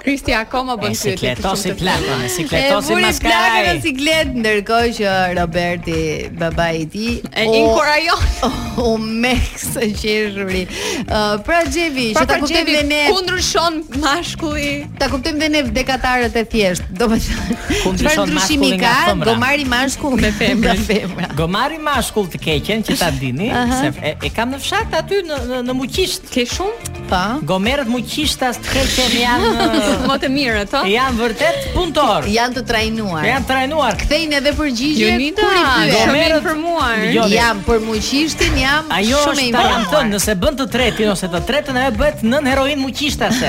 Kristi akoma bën E, si pyetje. të kletosi shumta. plakën, e si kletosi E vuri maskaraj. plakën në siklet ndërkohë që Roberti, baba i tij, E jo. u- inkurajon. u mek së qeshuri. Ë, pra Xhevi, Pra, që ta pra, kuptojmë Xhevi, dhe ne. ku ndryshon mashkulli? Ta kuptojmë dhe ne vdekatarët e thjeshtë. Do të thonë, Ku ndryshon çfarë ndryshimi mashkulli nga ka femra? gomari mashkull me femrën? femra. Gomari mashkull të keqen që ta dini, Aha. se e, e kam në fshat aty në në, në muqisht. Ke shumë? Pa. Gomerët muqishtas të keqen janë Ah. Më të mirë ato. janë vërtet puntor. Janë të trajnuar. Janë trajnuar. Kthejnë edhe përgjigje Jonida, kur i pyet. shumë Gomerët- informuar. Jo, ne- Jam për muqishtin, jam Ajo shumë e është ta jam informuar. thënë, nëse bën të tretin ose të tretën ajo bëhet nën heroin muqishtase.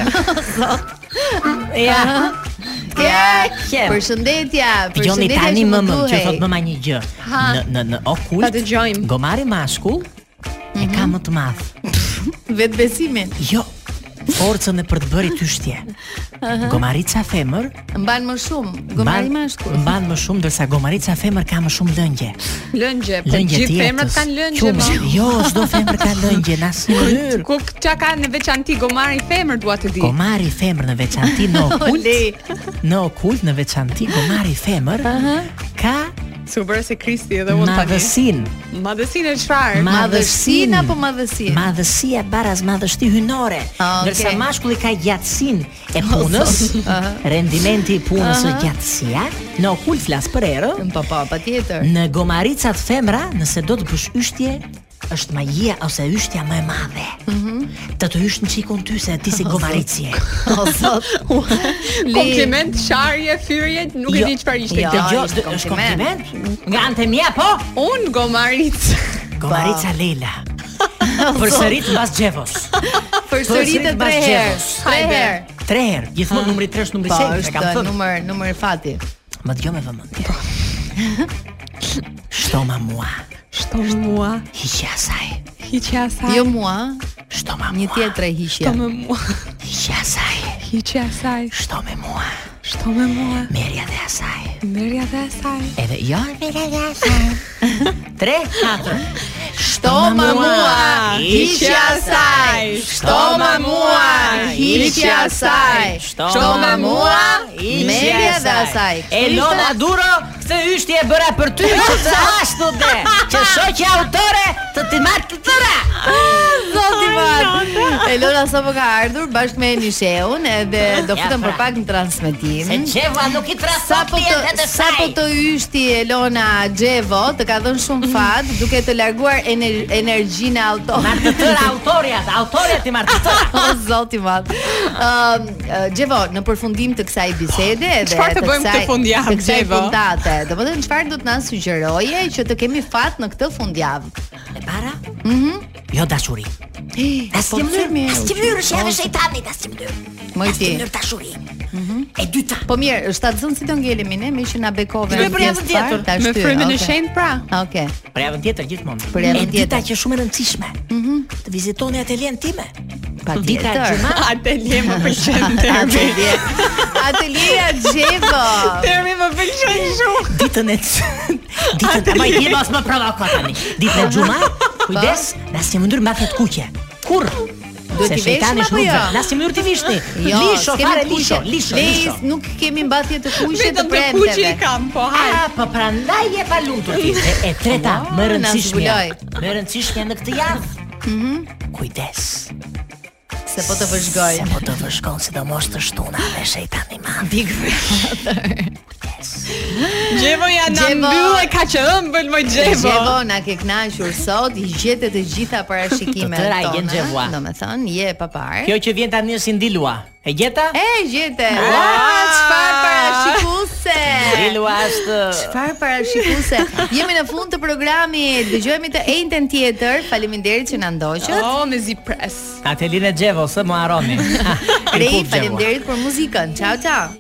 ja. Ja, qem. përshëndetja, Dëgjoni përshëndetja Jo, tani që më më më që duhej. thot më një gjë. Ha. Në në në Ta okult dëgjojmë. gomari mashkull e ka më të madh. Vetë besimin. Jo, forcën e për të bërë tyshtje. Gomarica femër Mban më shumë, gomari mban- mashkull. Mban më shumë ndërsa gomarica femër ka më shumë lëngje. Lëngje, po Lëngje gjithë femrat kanë lëngje. Qumsh. ma. Jo, çdo femër ka lëngje në asnjë mënyrë. Ku çka ka në veçanti gomari femër dua të di. Gomari femër në veçanti në okult. Ole. në okult në veçanti gomari femër ka Su bërë se Kristi edhe unë tani. madhësin. Madhësinë e çfarë? Ma- Madhësin Madhësin. apo madhësin? Madhësia baraz madhështi hynore, Ah, okay. ndërsa mashkulli ka gjatësinë e punës, aha. rendimenti i punës është gjatësia. Në okult flas për erë, Po po, patjetër. Në gomaricat femra, nëse do të bësh yshtje, është magjia ose yshtja më e madhe. Mhm. të të hysh në qikun ty se ti si gomaricje. O zot. Kompliment, sharje, fyrje, nuk e Jo. di çfarë ishte Jo. kjo. Dëgjoj, ishte dë- është kompliment. kompliment. Nga anë e mia, po? Unë gomaric. Gomarica Lela. Përsërit mbas Xhevos. Përsëritë Përsërit tre mbas herë. Xhevos. Tre Hajde. herë. Tre herë, gjithmonë numri 3 është numri Po. Po, 6, e kam është thënë. numër numër fati. Më dëgjoj me vëmendje. Shtoma mua, Shto mua, hiqja asaj. hiqja asaj. Jo mua, Shtoma mua, një tjetër hiqje. shto me mua, hiqja asaj. hiqja asaj. Shtome mua, Shto me mua, merja dhe asaj. merja dhe asaj. Edhe jo, merja dhe asaj. 3 4 Shtoma mua, hiqja saj. Shtoma mua, hiqja saj. Shtoma mua, merja dhe asaj. Elona Duro, këtë yshtje e bëra për ty, që të ashtu dhe, që shoqja autore të ti marrë të tëra. Zoti mat. Elona sapo ka ardhur bashkë me Elisheun edhe do Ja, futem për pra. pak në transmetim. Se Qeva nuk i Mm. Sa trasot po klientet të e sa po saj. të yshti Elona Xhevo të ka dhënë Mhm. shumë fat duke të larguar ener, energjinë Marrë autore. të tëra autorjat, autorjat i marrë të tëra. O zoti mat. Ëm uh, Xhevo në përfundim të kësaj bisede edhe Çfarë të bëjmë këtë fundjavë, të kësaj Xhevo? fundate. Domethënë çfarë do të na sugjeroje që të kemi fat në këtë fundjavë? E para? Mhm. Jo dashuri. Asnjë mënyrë, Po, mirë. asnjë mënyrë është jave shejtanit, asnjë mënyrë. Më i Asnjë ti. mënyrë dashuri. E dyta, Po mirë, shtatzën si do ngelemi ne, me që na bekove Ti me për javën tjetër, tash Me frymën e shenjtë pra. Okej. për javën tjetër gjithmonë. Për javën e dyta tjetër. që është shumë e rëndësishme. Mhm. Të vizitoni atelien time. Dita e Patjetër. xhumat. Atelje më pëlqen termi. Atelje. Ateljeja Xhevo. Termi më pëlqen shumë. Ditën e ditën ta mbaj dje mos më provoko tani. Ditën e xhumat, kujdes, në asnjë mënyrë mbafet kuqe. Kur? Do t'i veshim apo jo? Në asnjë mënyrë ti vishni. Jo, lisho, s'kemi fare të kuqe. lisho, lisho, lisho. Les, nuk kemi mbathje të kuqe të Vetëm të kuqi i premteve. kam, po hajde. Ah, po prandaj je pa lumtur ti. E, e treta, Ua, më e na rëndësishmja. zbuloj. Më e rëndësishmja në këtë javë. Mhm. Kujdes. Se po të vëzhgoj. Se po të vëshkon sidomos të shtuna dhe shejtani ma. Big Xhevo ja na Xhevo. mbyll e ka që ëmbël më Xhevo. Xhevo na ke kënaqur sot, i gjete të gjitha parashikimet Të tëra i tona. gjen Xhevoa. Domethënë, je pa parë. Kjo që vjen tani është si ndilua. E gjeta? E gjete. Ua, çfarë parashikuese. Ndilua është Çfarë parashikuese. Jemi në fund të programit. Dëgjojmë të ejtën tjetër. Faleminderit që na ndoqët. Oh, me zi pres. Atelin e Xhevos, së më harroni. Rej, faleminderit për muzikën. Ciao ciao.